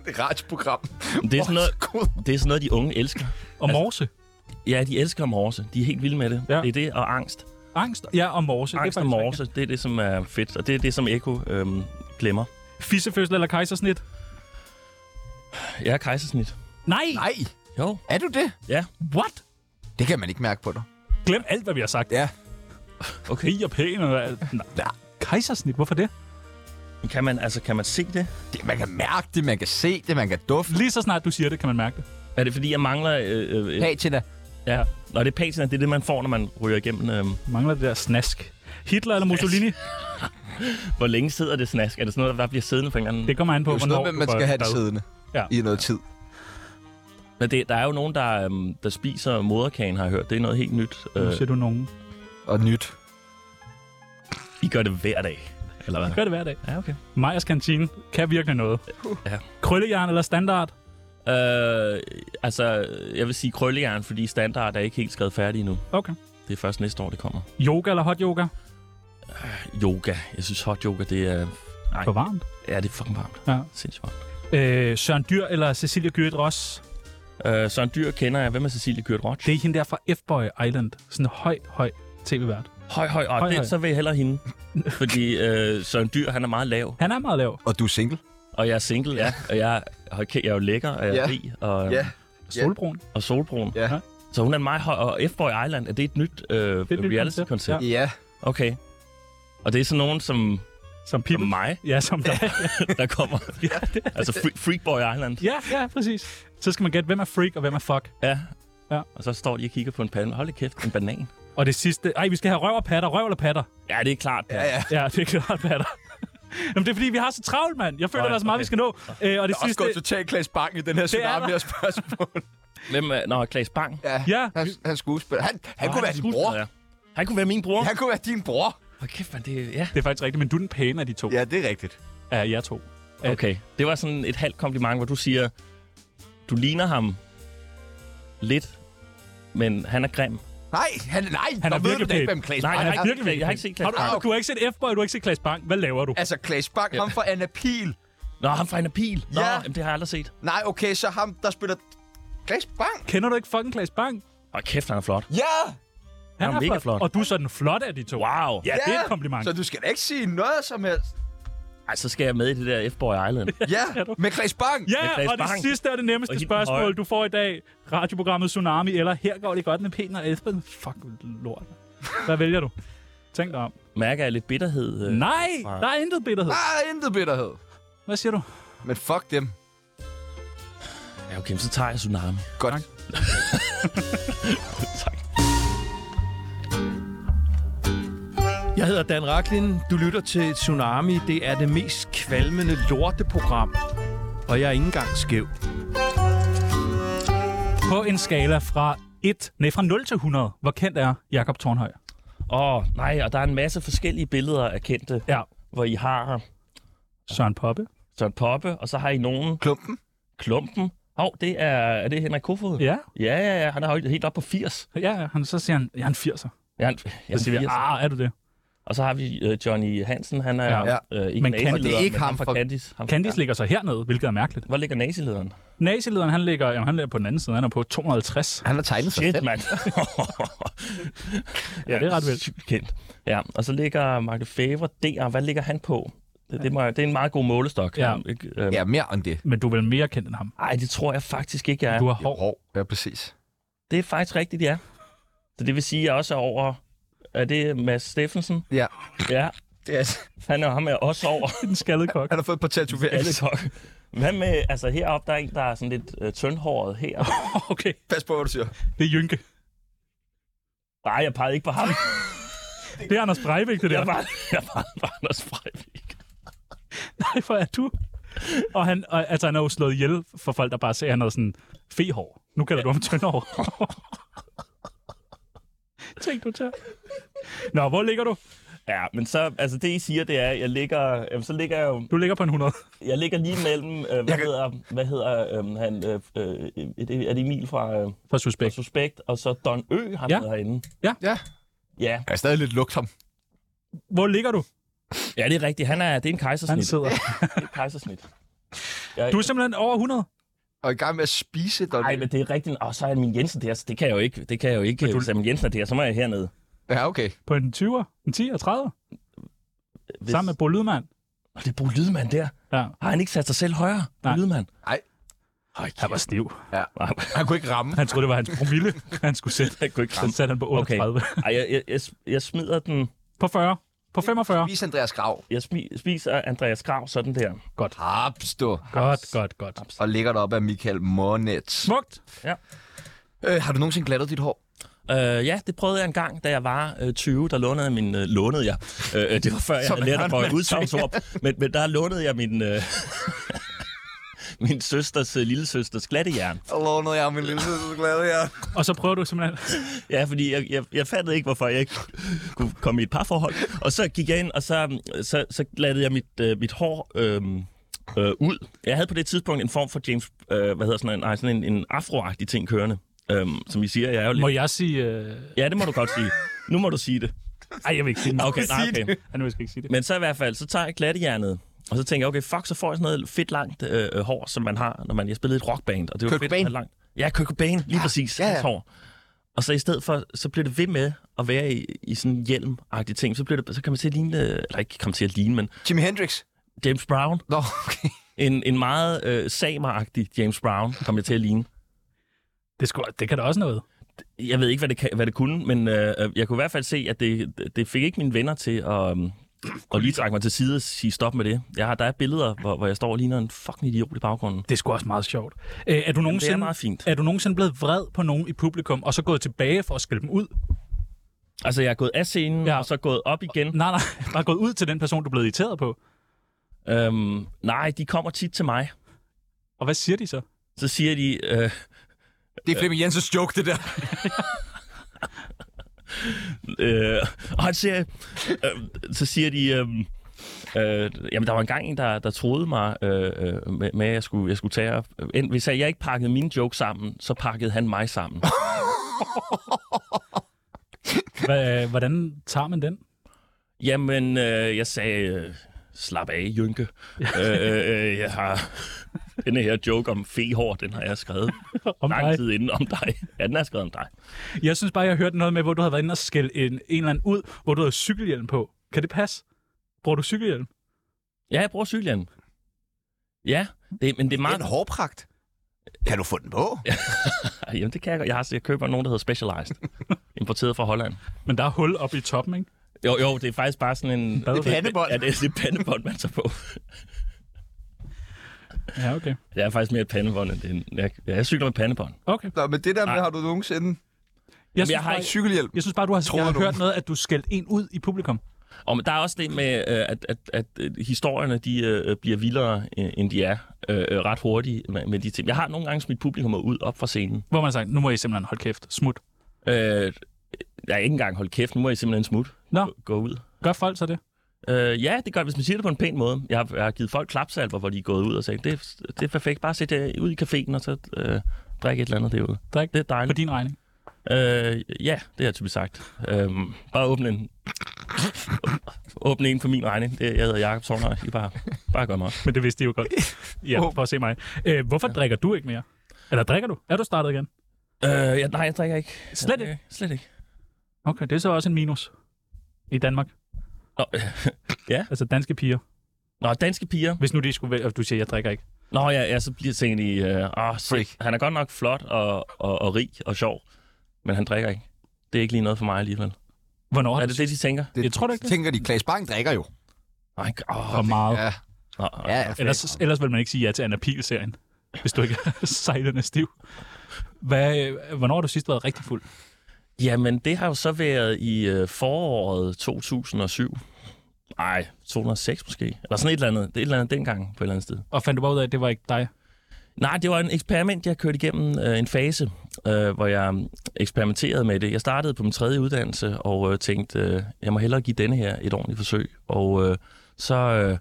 Speaker 1: Det er radioprogram.
Speaker 4: Men Det er, sådan noget, det er sådan noget, de unge elsker.
Speaker 2: Og morse.
Speaker 4: Ja, de elsker morse. De er helt vilde med det.
Speaker 2: Ja.
Speaker 4: Det er det og angst.
Speaker 2: Angst. Ja, og morse.
Speaker 4: Angst
Speaker 2: det
Speaker 4: og
Speaker 2: er faktisk
Speaker 4: morse, det er det, som er fedt. Og det er det, som Eko øhm, glemmer.
Speaker 2: rigtigt. Fissefødsel eller kejsersnit?
Speaker 4: Jeg er kejsersnit.
Speaker 2: Nej!
Speaker 1: Nej,
Speaker 4: Jo.
Speaker 1: er du det?
Speaker 2: What?
Speaker 1: Det kan man ikke mærke på dig.
Speaker 2: Glem alt, hvad vi har sagt.
Speaker 1: Ja.
Speaker 4: Okay.
Speaker 2: I og pæn og alt. Nej. Kejsersnit, hvorfor det?
Speaker 4: Kan man, altså, kan man se det?
Speaker 1: det. Man kan mærke det, man kan se det, man kan dufte.
Speaker 2: Lige så snart du siger det, kan man mærke det.
Speaker 4: Er det, fordi jeg mangler... Øh, øh,
Speaker 1: Patina.
Speaker 4: ja. Nå, det er patina, det er det, man får, når man ryger igennem. Øh,
Speaker 2: Mangler det der snask. Hitler eller Mussolini?
Speaker 4: hvor længe sidder det snask? Er det sådan noget, der bare bliver siddende på en eller anden...
Speaker 2: Det kommer an på,
Speaker 1: Det er jo sådan
Speaker 2: hvornår
Speaker 1: noget, med,
Speaker 2: du
Speaker 1: man skal
Speaker 2: går
Speaker 1: have det
Speaker 2: derud.
Speaker 1: siddende
Speaker 2: Ja.
Speaker 1: i noget tid.
Speaker 4: Men det, der er jo nogen, der, øh, der spiser moderkagen, har jeg hørt. Det er noget helt nyt.
Speaker 2: Nu
Speaker 4: Øh,
Speaker 2: siger du nogen.
Speaker 1: Og nyt.
Speaker 4: I gør det hver dag. Eller hvad?
Speaker 2: Gør det hver dag.
Speaker 4: Ja, okay.
Speaker 2: Majers Kantine kan virkelig noget.
Speaker 4: Ja.
Speaker 2: Krøllejern eller standard?
Speaker 4: Øh, altså, jeg vil sige krøllejern, fordi standard er ikke helt skrevet færdig endnu.
Speaker 2: Okay.
Speaker 4: Det er først næste år, det kommer.
Speaker 2: Yoga eller hot yoga?
Speaker 4: Yoga. Jeg synes, hot yoga, det er... Nej,
Speaker 2: For varmt.
Speaker 4: ja, det er fucking varmt.
Speaker 2: Ja.
Speaker 4: Sindssygt varmt.
Speaker 2: Øh, Søren Dyr eller Cecilia Gyrit Ross?
Speaker 4: Øh, Søren Dyr kender jeg. Hvem er Cecilie Gyrt Roch?
Speaker 2: Det er hende der fra F-Boy Island. Sådan en høj, høj tv-vært.
Speaker 4: Høj, høj, og
Speaker 2: Høj,
Speaker 4: høj,
Speaker 2: høj.
Speaker 4: den, så vil jeg hellere hende. Fordi øh, Søren Dyr, han er meget lav.
Speaker 2: Han er meget lav.
Speaker 1: Og du er single.
Speaker 4: Og jeg er single, ja. Og jeg, hold kæft, jeg er jo lækker, og jeg er
Speaker 1: Ja.
Speaker 4: rig, og,
Speaker 1: Ja.
Speaker 2: Solbrun.
Speaker 4: og solbrun.
Speaker 1: Ja.
Speaker 2: Ja.
Speaker 4: Så hun er en meget høj. Og F-Boy Island, er det et nyt øh,
Speaker 2: nyt
Speaker 4: reality-koncept?
Speaker 2: koncept,
Speaker 4: Ja.
Speaker 1: Ja.
Speaker 4: Okay. Og det er sådan nogen som,
Speaker 2: Som
Speaker 4: som
Speaker 2: Pippi.
Speaker 4: mig,
Speaker 2: Ja, som dig.
Speaker 4: der kommer. altså free, Freakboy Island.
Speaker 2: ja, ja, præcis. Så skal man gætte, hvem er freak og hvem er fuck.
Speaker 4: Ja.
Speaker 2: Ja.
Speaker 4: Og så står de og kigger på en pande. Hold da kæft, en banan.
Speaker 2: Og det sidste... Ej, vi skal have røv og patter. Røv eller patter?
Speaker 4: Ja, det er klart. Ja,
Speaker 1: ja.
Speaker 2: Ja, det er klart, patter. Jamen, det er fordi, vi har så travlt, mand. Jeg føler,
Speaker 4: Nej,
Speaker 2: der er så meget, vi
Speaker 4: okay.
Speaker 2: skal nå. Øh, og det sidste...
Speaker 1: totalt Klaas Bang i den her
Speaker 2: der.
Speaker 1: af spørgsmål.
Speaker 4: Hvem er... Nå, Klaas Bang.
Speaker 1: ja.
Speaker 2: Ja,
Speaker 1: Han, han skuespiller. Han, han
Speaker 4: Nå,
Speaker 1: kunne
Speaker 4: er
Speaker 1: være din
Speaker 4: skuespiller,
Speaker 1: bror.
Speaker 4: ja. Han kunne være min bror.
Speaker 1: Han kunne være din bror.
Speaker 4: Hvor kæft, man, det... Ja.
Speaker 2: det er faktisk rigtigt, men du er den pæne af de to.
Speaker 1: Ja, det er rigtigt.
Speaker 2: Af jer to.
Speaker 4: Okay, det var sådan et halvt kompliment, hvor du siger, du ligner ham lidt, men han er grim.
Speaker 1: Nej, han, nej,
Speaker 2: Han
Speaker 1: han
Speaker 2: er
Speaker 1: er ved du
Speaker 2: virkelig
Speaker 1: da ikke,
Speaker 2: pæn.
Speaker 1: hvem Klaas
Speaker 4: Nej,
Speaker 1: Bang
Speaker 4: jeg har
Speaker 1: er.
Speaker 4: ikke, virkelig, jeg har ikke set Klaas
Speaker 2: Har du,
Speaker 4: Bang.
Speaker 2: ah, du har ikke set F-Boy, du har ikke set Klaas Bang. Hvad laver du?
Speaker 1: Altså, Klaas Bang, ham fra Anna Pil.
Speaker 4: Nå, ham fra en pil. Nå,
Speaker 1: Ja.
Speaker 4: jamen, det har jeg aldrig set.
Speaker 1: Nej, okay, så ham, der spiller... Klaas Bang?
Speaker 2: Kender du ikke fucking Klaas Bang?
Speaker 4: Og kæft, han er flot.
Speaker 1: Ja!
Speaker 2: Han
Speaker 4: er mega flot.
Speaker 2: Og du er så den flotte af de to.
Speaker 4: Wow.
Speaker 2: Ja,
Speaker 4: Ja.
Speaker 2: det er et kompliment.
Speaker 1: Så du skal da ikke sige noget som helst.
Speaker 4: Ej, så skal jeg med i det der F-Boy Island.
Speaker 1: Ja,
Speaker 2: du.
Speaker 1: med Klaas Bang.
Speaker 4: Med
Speaker 2: Ja,
Speaker 4: Claes
Speaker 2: og det
Speaker 4: Bang.
Speaker 2: sidste og det nemmeste
Speaker 4: Og
Speaker 2: og
Speaker 4: hende
Speaker 2: spørgsmål,
Speaker 4: høje.
Speaker 2: du får i dag. Radioprogrammet Tsunami eller Her går det godt med Peter og Esben. Fuck, lort. Hvad vælger du? Tænk dig om.
Speaker 4: Mærker jeg lidt bitterhed? øh?
Speaker 2: Nej,
Speaker 4: nej.
Speaker 2: der er intet bitterhed.
Speaker 1: Der er intet bitterhed.
Speaker 2: Hvad siger du?
Speaker 1: Men fuck dem.
Speaker 4: Ja, okay, men så tager jeg Tsunami.
Speaker 1: Godt.
Speaker 4: tak.
Speaker 8: Jeg hedder Dan Raklin. Du lytter til Tsunami. Det er det mest kvalmende lorteprogram. Og jeg er ikke engang skæv.
Speaker 2: På en skala fra 1, nej, fra 0 til 100, hvor kendt er Jakob Tornhøj?
Speaker 4: Åh, oh, nej, og der er en masse forskellige billeder af kendte,
Speaker 2: Ja.
Speaker 4: hvor I har
Speaker 2: Søren Poppe?
Speaker 4: Søren Poppe, og så har I nogen
Speaker 1: Klumpen.
Speaker 4: klumpen. Hov, oh, det er, er det Henrik Kofod?
Speaker 2: Ja,
Speaker 4: Ja, ja, ja. Han er højt- helt op på 80.
Speaker 2: ja, ja. Han, så siger han, jeg er en 80'er.
Speaker 4: Ja, han, ja,
Speaker 2: Så siger vi,
Speaker 4: 80.
Speaker 2: ah, er du det?
Speaker 4: Og så har vi øh, Johnny Hansen. Han er
Speaker 2: Ja.
Speaker 4: ja. øh, ikke
Speaker 2: Men
Speaker 4: men
Speaker 2: Candice-
Speaker 4: nazilederen,
Speaker 1: Det er ikke
Speaker 4: men
Speaker 1: ham
Speaker 4: fra
Speaker 1: fra-
Speaker 4: Candice. Ham,
Speaker 2: Candice ligger så hernede, hvilket er mærkeligt.
Speaker 4: Hvor ligger nazilederen?
Speaker 2: Nazilederen, han ligger, jamen, han ligger på den anden side. Han er på 250.
Speaker 1: Han har tegnet sig
Speaker 4: Shit,
Speaker 1: selv.
Speaker 4: mand.
Speaker 2: Ja, det er ret vildt.
Speaker 4: sygt Kendt. Ja, og så ligger Mark Lefebvre der. Hvad ligger han på? Det, det, må, jeg- det er en meget god målestok.
Speaker 2: Ja.
Speaker 4: Ikke? Øhm,
Speaker 1: Ja, mere end det.
Speaker 2: Men du er vel mere kendt end ham.
Speaker 4: Ej, det tror jeg faktisk ikke, jeg
Speaker 2: Du
Speaker 4: er.
Speaker 2: har hår.
Speaker 1: Hår. Ja, præcis.
Speaker 4: Det er faktisk rigtigt, ja. Så det vil sige, at jeg også er over... Er det Mads Steffensen?
Speaker 1: Ja.
Speaker 4: Ja,
Speaker 7: Det er, altså-
Speaker 4: Han er ham er også over.
Speaker 2: Den skaldede kok.
Speaker 7: han har fået et par tatoveringer.
Speaker 4: Hvad med, altså heroppe, der er en, der er sådan lidt øh, tyndhåret her.
Speaker 2: Okay,
Speaker 7: Pas på, hvad du siger.
Speaker 2: det er Jynke.
Speaker 4: Nej, jeg pegede ikke på ham.
Speaker 2: Det er Anders Breivik, det der.
Speaker 4: Jeg pegede, jeg pegede på Anders Breivik.
Speaker 2: Nej, hvor er du? Og han, og, altså, han er jo slået ihjel for folk, der bare ser, at han havde sådan fehår. Nu kalder du ham tyndhår. Tænk du til. Nå, hvor ligger du?
Speaker 4: Ja, men så, altså det I siger, det er, at jeg ligger, jamen, så ligger jeg jo,
Speaker 2: Du ligger på en 100.
Speaker 4: jeg ligger lige mellem, øh, hvad, hedder, hvad hedder øhm, han, øh, øh, er det- er det Emil fra, øh,
Speaker 2: For
Speaker 4: fra
Speaker 2: suspekt.
Speaker 4: Suspekt, og så Don Ø, han
Speaker 2: Ja.
Speaker 4: ja. herinde.
Speaker 2: Ja.
Speaker 7: Ja.
Speaker 4: Ja.
Speaker 1: Jeg kan stadig lidt lugt ham.
Speaker 2: Hvor ligger du?
Speaker 4: ja, det er rigtigt. Han er, det er en
Speaker 2: Han
Speaker 4: kejsersnit.
Speaker 2: sidder.
Speaker 4: Det er et kejsersnit. Jeg,
Speaker 2: Du er simpelthen over 100.
Speaker 7: Og i gang med at spise dig.
Speaker 4: Nej, men det er rigtigt. Og så er min Jensen der, så det kan jeg jo ikke. Det kan jeg jo ikke. Du... Hvis Amin Jensen er der, så må jeg hernede.
Speaker 7: Ja, okay.
Speaker 2: På en 20'er, en 10'er, 30'er.
Speaker 4: Hvis...
Speaker 2: Sammen med Bo Lydmand.
Speaker 4: Og det er Bo Lydman der.
Speaker 2: Ja.
Speaker 4: Har han ikke sat sig selv højere? Bo
Speaker 2: Nej.
Speaker 4: Lydman.
Speaker 7: Nej.
Speaker 4: Høj,
Speaker 2: Han var stiv.
Speaker 7: Han kunne ikke ramme.
Speaker 2: Han troede, det var hans promille, han skulle sætte.
Speaker 4: jeg kunne ikke
Speaker 2: Så
Speaker 4: ramme.
Speaker 2: satte han på
Speaker 4: Okay.
Speaker 2: 38.
Speaker 4: Ej, jeg, jeg, jeg, jeg smider den.
Speaker 2: På 40. På 45.
Speaker 7: Spis Andreas Grav.
Speaker 4: Jeg smi, spiser Andreas Grav sådan der.
Speaker 7: Hapstå.
Speaker 2: Godt, godt, godt.
Speaker 7: Og ligger dig op af Michael Mornets.
Speaker 2: Smukt.
Speaker 7: Øh, har du nogensinde glattet dit hår?
Speaker 4: Øh, ja, det prøvede jeg en gang, da jeg var øh, 20. Der lånede jeg min... Øh, lånede jeg. Øh, det var før, jeg
Speaker 7: Som
Speaker 4: havde lært at
Speaker 7: en
Speaker 4: bøje
Speaker 7: håndværker.
Speaker 4: udsagnsord. Men, men der lånede jeg min... Øh, min søsters, øh, lille søsters glattejern.
Speaker 7: Og lånede jeg min lille søster glattet, ja.
Speaker 2: Og så prøver du simpelthen...
Speaker 4: Ja, fordi jeg, jeg, jeg fattede ikke, hvorfor jeg ikke kunne komme i et parforhold. Og så gik jeg ind, og så, så, så glattede jeg mit, øh, mit hår øh, øh, ud. Jeg havde på det tidspunkt en form for James, øh, hvad hedder sådan en, nej, sådan en, en afroagtig ting kørende. Øh, som I siger, jeg er jo
Speaker 2: Må
Speaker 4: lidt...
Speaker 2: jeg sige... Øh...
Speaker 4: Ja, det må du godt sige. Nu må du sige det.
Speaker 2: Ej, jeg vil ikke sige det.
Speaker 4: Okay, nej, okay.
Speaker 2: Ja, nu skal jeg ikke sige det.
Speaker 4: Men så i hvert fald, så tager jeg glattejernet, og så tænker jeg, okay, fuck, så får jeg sådan noget fedt langt øh, øh, hår, som man har, når man jeg spillede i et rockband, og det var
Speaker 7: Kurt
Speaker 4: fedt
Speaker 7: Cobain.
Speaker 4: at have langt. Ja, Kurt Cobain, lige ja, præcis,
Speaker 7: ja,
Speaker 4: ja,
Speaker 7: ja.
Speaker 4: ja. hår. Og så i stedet for, så bliver det ved med at være i, i sådan en hjelm ting, så, bliver det, så kan man til at ligne, øh, eller ikke komme til at ligne, men
Speaker 7: Jimi Hendrix.
Speaker 4: James Brown,
Speaker 7: Nå, okay.
Speaker 4: en, en meget øh, sameragtig James Brown, kom jeg til at ligne.
Speaker 2: Det, skulle, det kan da også noget.
Speaker 4: Jeg ved ikke, hvad det, kan, hvad det kunne, men øh, øh, jeg kunne i hvert fald se, at det, det fik ikke mine venner til at, øhm, at lige trække mig til side og sige stop med det. Jeg har, der er billeder, hvor, hvor jeg står og ligner en fucking idiot i baggrunden.
Speaker 2: Det er sgu også meget sjovt. Øh, er, du
Speaker 4: Det er
Speaker 2: nogensinde,
Speaker 4: meget fint.
Speaker 2: er du nogensinde blevet vred på nogen i publikum, og så gået tilbage for at skælde dem ud?
Speaker 4: Altså, jeg er gået af scenen,
Speaker 2: Ja.
Speaker 4: ja. og så gået op igen.
Speaker 2: Nej, nej. Bare gået ud til den person, du er blevet irriteret på.
Speaker 4: Øhm, nej, de kommer tit til mig.
Speaker 2: Og hvad siger de så?
Speaker 4: Så siger de, øh,
Speaker 1: Det er Flemming Jensens joke, det der.
Speaker 4: øh, og han siger, øh, så siger de, øh, øh, jamen der var engang en, der, der troede mig øh, øh, med, med, at jeg skulle, jeg skulle tage, og- end, hvis jeg ikke pakkede mine jokes sammen, så pakkede han mig sammen.
Speaker 2: Hva, øh, hvordan tager man den?
Speaker 4: Jamen, øh, jeg sagde, øh, slap af, Jynke. øh, øh, jeg har den her joke om fehår, den har jeg skrevet
Speaker 2: Om
Speaker 4: lang
Speaker 2: dig.
Speaker 4: tid inden om dig. Ja, den er skrevet om dig.
Speaker 2: Jeg synes bare, jeg hørte noget med, hvor du havde været inde og skælde en, en eller anden ud, hvor du havde cykelhjelm på. Kan det passe? Bruger du cykelhjelm?
Speaker 4: Ja, jeg bruger cykelhjelm. Ja, det, men det er
Speaker 7: Det er
Speaker 4: meget...
Speaker 7: en hårpragt. Kan du få den på?
Speaker 4: Ej, Jamen, det kan jeg godt. Jeg, har, jeg køber nogen, der hedder Specialized. importeret fra Holland.
Speaker 2: Men der er hul oppe i toppen, ikke?
Speaker 4: Jo, jo, det er faktisk bare sådan en...
Speaker 2: Hvad? Det er
Speaker 7: pandebånd.
Speaker 4: Ja, det er det er pandebånd, man tager på.
Speaker 2: Ja, okay.
Speaker 4: Det er faktisk mere et pandebånd, end det er en... Jeg, jeg cykler med pandebånd.
Speaker 2: okay.
Speaker 7: Nå, men det der med, har du nogensinde
Speaker 2: Jeg, synes,
Speaker 4: jeg har
Speaker 2: bare,
Speaker 4: ikke
Speaker 7: cykelhjelm?
Speaker 2: jeg synes bare, du har, jeg har
Speaker 7: nogen.
Speaker 2: hørt noget, at du skældte en ud i publikum.
Speaker 4: Og men der er også det med, øh, at, at, at øh, historierne de, øh, bliver vildere, øh, end de er øh, øh, ret hurtigt med, med de ting. Jeg har nogle gange smidt publikum ud op fra scenen.
Speaker 2: Hvor man har sagt, nu må I simpelthen holde kæft. Smut.
Speaker 4: Øh, jeg har ikke engang holdt kæft, nu må jeg simpelthen smutte.
Speaker 2: Nå.
Speaker 4: Gå- Gå ud.
Speaker 2: Gør folk så det?
Speaker 4: Øh, ja, det gør hvis man siger det på en pæn måde. Jeg har, jeg har givet folk klapsalver, hvor de er gået ud og sagt, det, er- det er perfekt, bare sæt jer ud i caféen og så øh, drikke et eller andet derude.
Speaker 2: Drik
Speaker 4: Det er
Speaker 2: på
Speaker 4: dejligt.
Speaker 2: din regning.
Speaker 4: Øh, ja, det har jeg typisk sagt. Øh, bare åbne en... åbne en på min regning. Det, jeg hedder Jacob Tornøj. I bare, bare gør mig op.
Speaker 2: Men det vidste de jo godt. Ja, for at se mig. Øh, hvorfor drikker du ikke mere? Eller drikker du? Er du startet igen?
Speaker 4: Øh, ja, nej, jeg drikker ikke. Jeg
Speaker 2: Slet
Speaker 4: drikker
Speaker 2: ikke?
Speaker 4: Slet ikke.
Speaker 2: Okay, det er så også en minus i Danmark.
Speaker 4: Nå, øh,
Speaker 2: Altså danske piger.
Speaker 4: Nå, danske piger.
Speaker 2: Hvis nu de skulle vælge, og du siger, jeg drikker ikke.
Speaker 4: Nå, ja, ja så bliver jeg tænkt i, øh, åh,
Speaker 7: Freak.
Speaker 4: shit, han er godt nok flot og, og, og rig og sjov, men han drikker ikke. Det er ikke lige noget for mig alligevel.
Speaker 2: Hvornår har
Speaker 4: Er
Speaker 2: du
Speaker 4: det det, de tænker?
Speaker 2: Jeg tror da ikke det.
Speaker 1: Tænker de, Klaas Bang drikker jo.
Speaker 4: Nej, åh,
Speaker 2: for meget?
Speaker 1: Ja.
Speaker 4: Nå,
Speaker 1: Ja, ja.
Speaker 2: Ellers, ellers vil man ikke sige ja til Anna Pihl-serien, hvis du ikke er sejlende stiv. Hvad, øh, hvornår har du sidst været rigtig fuld?
Speaker 4: Jamen, det har jo så været i øh, foråret 2007. Nej, 2006 måske. Eller sådan et eller andet. Det er et eller andet dengang på et eller andet sted.
Speaker 2: Og fandt du bare ud af, at det var ikke dig?
Speaker 4: Nej, det var en eksperiment, jeg kørte igennem øh, en fase, øh, hvor jeg mm, eksperimenterede med det. Jeg startede på min tredje uddannelse og øh, tænkte, øh, jeg må hellere give denne her et ordentligt forsøg. Og øh, så øh,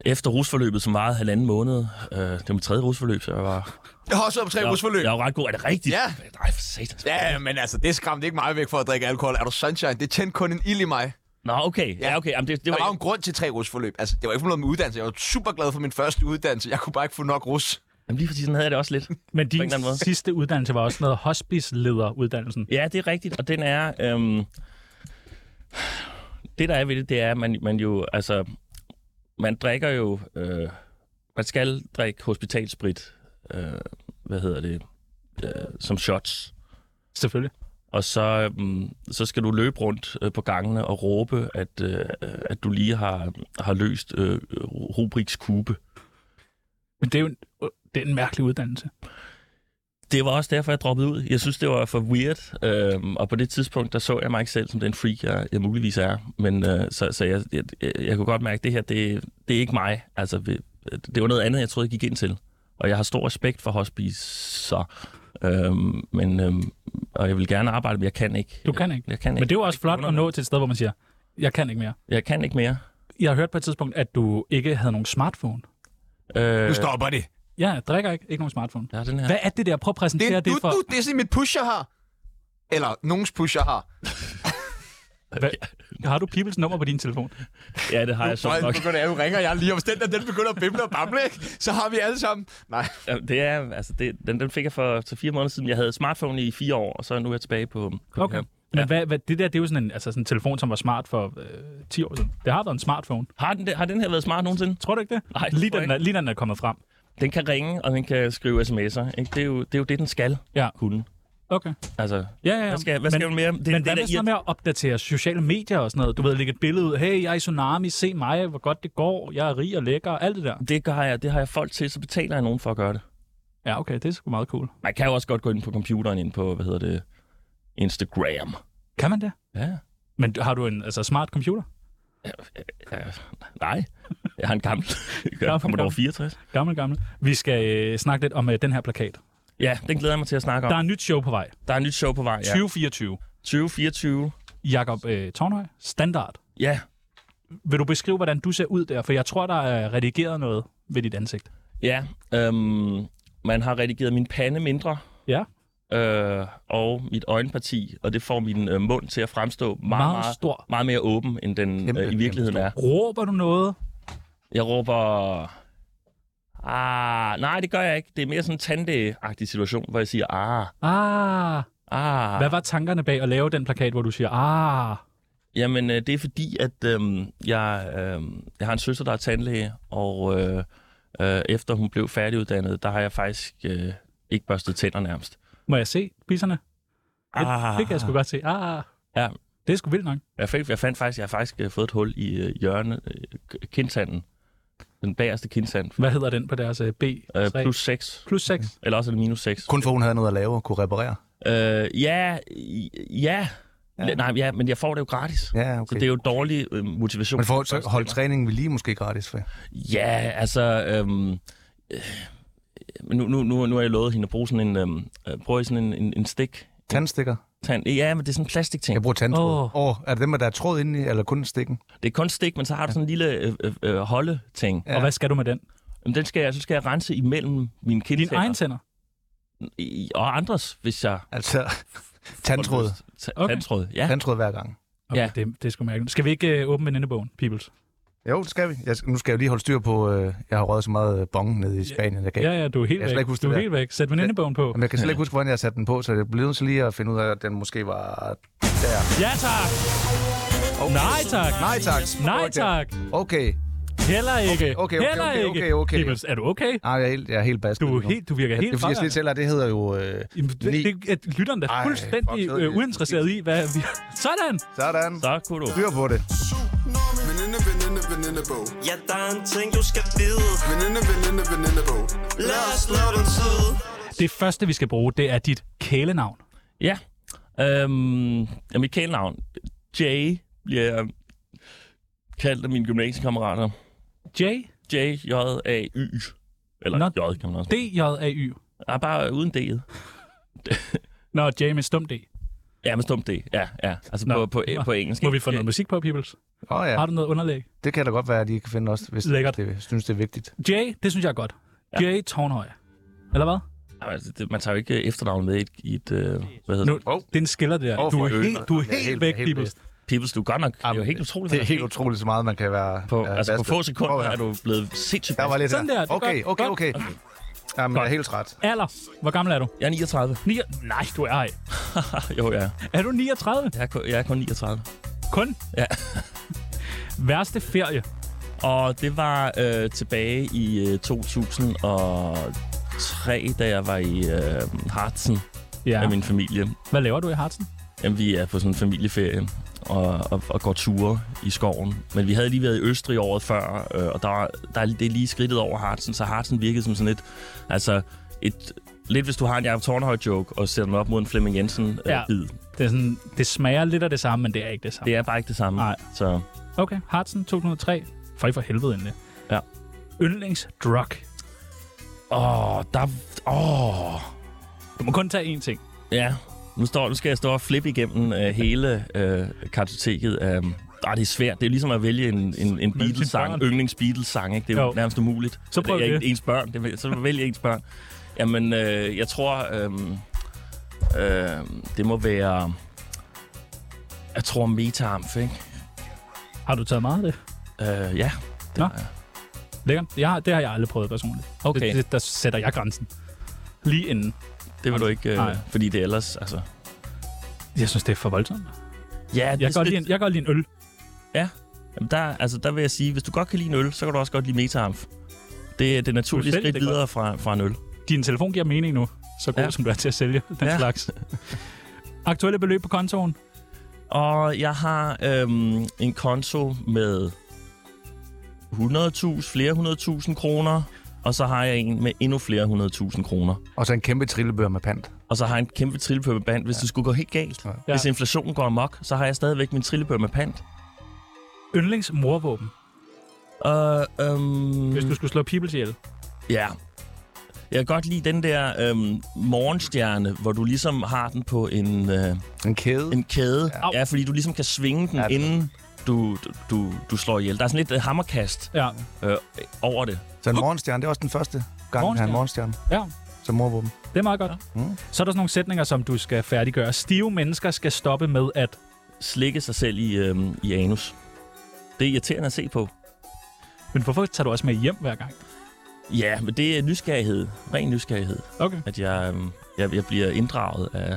Speaker 4: efter rusforløbet, som varede halvanden måned, øh, det var mit tredje rusforløb, så jeg var...
Speaker 1: Jeg har også været på tre
Speaker 4: Jeg,
Speaker 1: rusforløb.
Speaker 4: jeg var ret god. Er det rigtigt?
Speaker 1: Ja.
Speaker 4: Nej, for satan.
Speaker 1: Ja, men altså, det skræmte ikke mig væk for at drikke alkohol. Er du sunshine? Det tændte kun en ild i mig.
Speaker 4: Nå, okay. Ja, okay. Jamen, det, det
Speaker 1: Der var jo
Speaker 4: var,
Speaker 1: en grund til tre rusforløb. Altså, det var ikke noget med uddannelse. Jeg var super glad for min første uddannelse. Jeg kunne bare ikke få nok rus.
Speaker 4: jamen, lige præcis sådan havde jeg det også lidt.
Speaker 2: Men
Speaker 4: en
Speaker 2: din
Speaker 4: eller anden måde.
Speaker 2: sidste uddannelse var også noget hospice-lederuddannelsen.
Speaker 4: Ja, det er rigtigt, og den er... Øhm, det, der er ved det, det er, at man, man jo... Altså, man drikker jo... Øh, man skal drikke hospitalsprit, øh, hvad hedder det, øh, som shots.
Speaker 2: Selvfølgelig.
Speaker 4: Og så, øhm, så skal du løbe rundt øh, på gangene og råbe, at, øh, at du lige har, har løst øh, Rubriks kube.
Speaker 2: Men det er jo en, øh, det er en mærkelig uddannelse.
Speaker 4: det var også derfor, jeg droppede ud. Jeg synes, det var for weird. Øhm, og på det tidspunkt, der så jeg mig ikke selv som den freak, jeg, jeg muligvis er. Men øh, så, så jeg, jeg, jeg, jeg kunne godt mærke, at det her, det, det er ikke mig. Altså, det, det var noget andet, jeg troede, jeg gik ind til. Og jeg har stor respekt for hospicer. Øhm, men, øhm, og jeg vil gerne arbejde, men jeg kan ikke.
Speaker 2: Du kan ikke.
Speaker 4: Jeg kan ikke.
Speaker 2: Men det er jo også flot at nå til et sted, hvor man siger, jeg kan ikke mere.
Speaker 4: Jeg kan ikke mere.
Speaker 2: Jeg har hørt på et tidspunkt, at du ikke havde nogen smartphone.
Speaker 4: Øh,
Speaker 1: Nu stopper det.
Speaker 2: Ja, jeg drikker ikke. Ikke nogen smartphone.
Speaker 4: ja, den her.
Speaker 2: Hvad er det der? Prøv at
Speaker 1: Det
Speaker 2: præsentere
Speaker 1: er,
Speaker 2: det,
Speaker 1: du,
Speaker 2: for...
Speaker 1: du, det er sådan mit pusher her. Eller nogens pusher her.
Speaker 2: Hvad, har du Peoples nummer på din telefon?
Speaker 4: Ja, det har jeg så
Speaker 1: Nå,
Speaker 4: nok.
Speaker 1: nu begynder jeg, nu ringer jeg lige. Og hvis den der, den begynder at bimle og bamle, ikke? så har vi alle sammen... Nej,
Speaker 4: Ja, Det er, altså, det, den, den fik jeg for, for fire måneder siden. Jeg havde smartphone i fire år, og så nu er jeg tilbage på, på
Speaker 2: Okay.
Speaker 4: det her.
Speaker 2: Men hvad, hvad, det der, det er jo sådan en, altså sådan en telefon, som var smart for øh, 10 år siden. Det har været en smartphone.
Speaker 4: Har den, har den her været smart nogensinde?
Speaker 2: Tror du ikke det?
Speaker 4: Nej, det
Speaker 2: lige,
Speaker 4: tror jeg
Speaker 2: den, er, lige da den er kommet frem.
Speaker 4: Den kan ringe, og den kan skrive sms'er. Ikke? Det, er jo, det er jo det, den skal
Speaker 2: Ja.
Speaker 4: kunne.
Speaker 2: Okay.
Speaker 4: Altså,
Speaker 2: Ja, ja, ja.
Speaker 4: hvad skal, hvad skal
Speaker 2: men,
Speaker 4: man mere? Det,
Speaker 2: men
Speaker 4: det,
Speaker 2: hvad
Speaker 4: der
Speaker 2: med sådan noget med at opdatere sociale medier og sådan noget? Du ved, lægge et billede ud. Hey, jeg er i Tsunami. Se mig, hvor godt det går. Jeg er rig og lækker. Alt det der.
Speaker 4: irri- det, gør jeg, det har jeg folk til, så betaler jeg nogen for at gøre det.
Speaker 2: Ja, okay. Det er sgu meget cool.
Speaker 4: Man kan jo også godt gå ind på computeren, ind på, hvad hedder det, Instagram.
Speaker 2: Kan man det?
Speaker 4: Ja.
Speaker 2: Men har du en altså, smart computer?
Speaker 4: ja. Nej, jeg har en gammel.
Speaker 2: Gammel,
Speaker 4: Jeg kommer over
Speaker 2: gammel.
Speaker 4: 64.
Speaker 2: Gammel, gammel. Vi skal øh, snakke lidt om øh, den her plakat.
Speaker 4: Ja, den glæder jeg mig til at snakke om.
Speaker 2: Der
Speaker 4: Der,
Speaker 2: er et nyt show på vej.
Speaker 4: der er et nyt show på vej. Ja.
Speaker 2: 2024.
Speaker 4: 2024.
Speaker 2: Jakob øh, Tornhøj. Standard.
Speaker 4: Ja,
Speaker 2: Vil du beskrive, hvordan du ser ud der? For jeg tror, der er redigeret noget ved dit ansigt.
Speaker 4: ja. Øhm, man har redigeret min pande mindre.
Speaker 2: Ja.
Speaker 4: øh, og mit øjenparti, og det får min øh, mund til at fremstå meget,
Speaker 2: Meget
Speaker 4: meget,
Speaker 2: stor.
Speaker 4: meget mere åben, end den
Speaker 1: Kæmpe,
Speaker 4: øh, i virkeligheden er.
Speaker 2: Råber du noget?
Speaker 4: Jeg råber... Ah, nej, det gør jeg ikke. Det er mere sådan en tandlægeagtig situation, hvor jeg siger, ah,
Speaker 2: Ah,
Speaker 4: ah.
Speaker 2: hvad var tankerne bag at lave den plakat, hvor du siger, ah,
Speaker 4: Jamen, øh, det er fordi, at øh, jeg, øh, jeg har en søster, der er tandlæge, og øh, øh, efter hun blev færdiguddannet, der har jeg faktisk øh, ikke børstet tænder nærmest.
Speaker 2: må jeg se bisserne?
Speaker 4: Ah.
Speaker 2: Det kan jeg sgu godt se. Ah,
Speaker 4: Ja.
Speaker 2: det er sgu vildt nok.
Speaker 4: Jeg, fik, jeg fandt faktisk, jeg har faktisk øh, fået et hul i øh, hjørne, øh, k- kindtanden. Den bagerste kindtand.
Speaker 2: Hvad hedder den på deres uh, B?
Speaker 4: Øh, plus 6.
Speaker 2: plus 6.
Speaker 4: Eller også er det minus 6.
Speaker 7: Kun for hun havde noget at lave og kunne reparere.
Speaker 4: Øh, ja, i- ja. ja. Nej, ja, men jeg får det jo gratis.
Speaker 7: Ja,
Speaker 4: Så det er jo dårlig øh, motivation.
Speaker 7: Men for så holde træningen ved lige måske gratis. For.
Speaker 4: Ja, altså... Øhm, øh, nu, nu, nu, nu har jeg lovet hende at bruge sådan en... Øhm, øh, prøve sådan en, en, en stik.
Speaker 7: Tandstikker.
Speaker 4: Tand. Ja, men det er sådan en plastikting.
Speaker 7: Jeg bruger tandtråd.
Speaker 2: Åh.
Speaker 7: Åh, oh. er det dem, der er tråd inde i, eller kun stikken?
Speaker 4: Det er kun stik, men så har du sådan en lille øh, øh, øh, holdeting.
Speaker 2: Ja. Og hvad skal du med den?
Speaker 4: Men den skal jeg, så skal jeg rense imellem mine
Speaker 2: Din
Speaker 4: kindtænder.
Speaker 2: egen tænder.
Speaker 4: I- Og andres, hvis jeg...
Speaker 7: Altså, tandtråd.
Speaker 4: Ta-
Speaker 2: Okay.
Speaker 4: Tandtråd, ja.
Speaker 7: Tandtråd hver gang.
Speaker 2: Okay, ja.
Speaker 4: Ja.
Speaker 2: det, det er sgu mærkeligt. Skal vi ikke uh, åbne venindebogen, Peoples?
Speaker 7: Jo, det skal vi. Jeg, skal- nu skal jeg jo lige holde styr på, øh, jeg har røget så meget øh, bong nede i Spanien. Jeg kan,
Speaker 2: Ja, ja, du er helt
Speaker 7: Jeg skal
Speaker 2: væk.
Speaker 7: ikke huske
Speaker 2: Du
Speaker 7: det
Speaker 2: er
Speaker 7: der.
Speaker 2: helt væk. Sæt venindebogen på.
Speaker 7: Jamen, jeg kan slet ikke huske, hvordan jeg satte den på, så jeg blev nødt til lige at finde ud af, at den måske var der.
Speaker 2: Ja tak! Nej tak!
Speaker 7: Oh. Nej tak.
Speaker 2: Nej tak!
Speaker 7: Okay.
Speaker 2: Heller ikke.
Speaker 7: okay, okay,
Speaker 2: Heller
Speaker 7: okay,
Speaker 2: ikke.
Speaker 7: okay, okay.
Speaker 2: Peoples, er du okay?
Speaker 7: Nej, jeg er helt, jeg er helt basket
Speaker 2: Du, er helt, du virker
Speaker 7: Det er
Speaker 2: helt
Speaker 7: fordi, jeg
Speaker 2: fra
Speaker 7: slet
Speaker 2: dig.
Speaker 7: ikke selv er- det hedder jo... Øh,
Speaker 2: Jamen, det,
Speaker 7: ni.
Speaker 2: det, at lytteren er
Speaker 7: Ej,
Speaker 2: fuldstændig
Speaker 7: fuck, så er
Speaker 2: øh,
Speaker 7: det-
Speaker 2: uinteresseret i, hvad vi... Sådan!
Speaker 7: Sådan.
Speaker 4: Så kunne du.
Speaker 7: Styr på det.
Speaker 9: Veninde, veninde, venindebog.
Speaker 6: Ja, der er en ting, du skal vide.
Speaker 9: Veninde, veninde, venindebog.
Speaker 6: Lad os slå den tid.
Speaker 2: Det første, vi skal bruge, det er dit kælenavn.
Speaker 4: Ja. Øhm, ja, mit kælenavn, Jay, bliver jeg kaldt af mine gymnasiekammerater.
Speaker 2: J,
Speaker 4: J-J-A-Y. Eller
Speaker 2: Nå,
Speaker 4: J, kan man også.
Speaker 2: D, J, A, Y.
Speaker 4: Ja, bare uden D'et.
Speaker 2: Nå, J med stum D.
Speaker 4: Ja, med stum D. Ja, ja. Altså
Speaker 2: Nå.
Speaker 4: på, på, på engelsk.
Speaker 2: Må
Speaker 4: ikke?
Speaker 2: vi få noget musik på, Peoples?
Speaker 7: Åh oh, ja,
Speaker 2: Har du noget underlæg?
Speaker 7: det kan da godt være, at de kan finde os, hvis
Speaker 2: Lækkert.
Speaker 7: det synes, det er vigtigt.
Speaker 2: J, det synes jeg er godt.
Speaker 4: Ja.
Speaker 2: J Tornhøj. Eller hvad?
Speaker 4: Jamen, altså, det- Man tager jo ikke efternavnet med i et, i et øh, hvad hedder
Speaker 2: Nu,
Speaker 4: det?
Speaker 2: det er en skiller, det der.
Speaker 7: Åh,
Speaker 2: Du
Speaker 7: for
Speaker 2: er
Speaker 7: helvede.
Speaker 2: helt, du er
Speaker 7: Jamen, jeg er
Speaker 2: helt
Speaker 7: helt-
Speaker 2: væk,
Speaker 7: helt
Speaker 2: Peoples.
Speaker 4: Peoples, du er godt nok. Det er jo
Speaker 7: Jamen,
Speaker 4: helt utroligt.
Speaker 7: Det
Speaker 4: hvad
Speaker 7: er
Speaker 4: der
Speaker 7: helt utroligt, så meget man kan være...
Speaker 4: På,
Speaker 7: være
Speaker 4: altså på
Speaker 7: basket.
Speaker 4: få sekunder
Speaker 7: Prøv at
Speaker 4: er
Speaker 7: høre.
Speaker 4: du blevet sindssygt
Speaker 7: Der var
Speaker 4: basket.
Speaker 7: lidt
Speaker 2: Sådan der, det er
Speaker 7: Okay,
Speaker 2: godt.
Speaker 7: okay,
Speaker 2: Godt.
Speaker 7: okay. Jamen, jeg er helt træt.
Speaker 2: Alder. Hvor gammel er du?
Speaker 4: Jeg er 39.
Speaker 2: Ni- Nej, du er ej.
Speaker 4: jo, ja.
Speaker 2: Er du 39?
Speaker 4: Jeg er, kun- jeg er kun 39.
Speaker 2: Kun?
Speaker 4: Ja.
Speaker 2: Værste ferie.
Speaker 4: Og det var øh, tilbage i øh, 2003, da jeg var i øh, Hartsen
Speaker 2: Ja.
Speaker 4: ja. med min familie.
Speaker 2: Hvad laver du i Hartsen?
Speaker 4: Jamen, vi er på sådan en familieferie og, og, og går ture i skoven. Men vi havde lige været i Østrig året før, øh, og der, var- der er, det er lige skridtet over Hartsen, så Hartsen virkede som sådan et... Altså, et, lidt hvis du har en Jacob Tornhøj-joke og sætter den op mod en Flemming Jensen-bid. Øh,
Speaker 2: Ja.
Speaker 4: bid.
Speaker 2: Det, er sådan, det smager lidt af det samme, men det er ikke det samme.
Speaker 4: Det er bare ikke det samme.
Speaker 2: Nej.
Speaker 4: Så
Speaker 2: Okay, Hartsen 2003. For I for helvede endelig.
Speaker 4: Ja.
Speaker 2: Yndlingsdrug.
Speaker 4: Åh, der... Åh...
Speaker 2: Du må kun tage én ting.
Speaker 4: Ja, nu, står, nu skal jeg stå og flippe igennem øh, hele øh, kartoteket af... Ej, det er svært. Det er ligesom at vælge en, en, en Beatles-sang,
Speaker 2: børn.
Speaker 4: yndlings-Beatles-sang. Ikke? Det er jo,
Speaker 2: Jo.
Speaker 4: nærmest umuligt.
Speaker 2: Så prøv
Speaker 4: det. Er
Speaker 2: det.
Speaker 4: ikke ens børn. Det, er- så vælg ens børn. Jamen, øh, jeg tror... Øh, øh, det må være... Jeg tror metamf, ikke?
Speaker 2: Har du taget meget af det?
Speaker 4: Øh, ja. Det
Speaker 2: Nå.
Speaker 4: er-
Speaker 2: Lækkert. Jeg har, det har jeg aldrig prøvet personligt.
Speaker 4: Okay.
Speaker 2: Det, det, der sætter jeg grænsen. Lige inden.
Speaker 4: Det vil du ikke... Øh,
Speaker 2: Nej.
Speaker 4: fordi det er ellers... Altså,
Speaker 2: Jeg synes, det er for voldsomt.
Speaker 4: ja, det
Speaker 2: Jeg
Speaker 4: er
Speaker 2: går lige en, jeg går lige en øl.
Speaker 4: Jamen der, altså, der vil jeg sige, hvis du godt kan lide en øl, så kan du også godt lide metamf. Det er det naturlige
Speaker 2: Fuldstændig,
Speaker 4: skridt
Speaker 2: det er
Speaker 4: videre fra, fra en øl.
Speaker 2: Din telefon giver mening nu. Så god
Speaker 4: Ja.
Speaker 2: ja. som du er til at sælge den
Speaker 4: Ja.
Speaker 2: ja. slags. Aktuelle beløb på kontoen.
Speaker 4: Og jeg har øhm, en konto med 100.000, flere 100.000 kroner, og så har jeg en med endnu flere 100.000 kroner.
Speaker 7: Og så en kæmpe trillebør med pant.
Speaker 4: Og så har jeg en kæmpe trillebør med pant, hvis ja. det skulle gå helt galt. Ja. Hvis inflationen går amok, så har jeg stadigvæk min trillebør med pant.
Speaker 2: Yndlingsmorvåben.
Speaker 4: Og, øhm,
Speaker 2: Hvis du skulle slå people ihjel.
Speaker 4: Ja. Jeg kan godt lide den der øhm, morgenstjerne, hvor du ligesom har den på en... Øh,
Speaker 7: En kæde.
Speaker 4: en kæde.
Speaker 2: Au.
Speaker 4: Ja. ja, fordi du ligesom kan svinge den, ja,
Speaker 7: Ja, det-
Speaker 4: inden du, du- du, du slår ihjel. Der er sådan lidt uh, hammerkast
Speaker 2: Ja.
Speaker 4: øh, over det.
Speaker 7: Så en morgenstjerne, det er også den første gang, han har en morgenstjerne
Speaker 2: Ja,
Speaker 7: som morvåben.
Speaker 2: det er meget godt. Ja.
Speaker 7: Mm.
Speaker 2: Så er der sådan nogle sætninger, som du skal færdiggøre. Stive mennesker skal stoppe med at...
Speaker 4: Slikke sig selv i, øh, i anus. Det er irriterende at se på.
Speaker 2: Men hvorfor tager du også med hjem hver gang?
Speaker 4: Ja, men det er nysgerrighed. Ren nysgerrighed.
Speaker 2: Okay.
Speaker 4: At jeg, øh, jeg, jeg bliver inddraget af,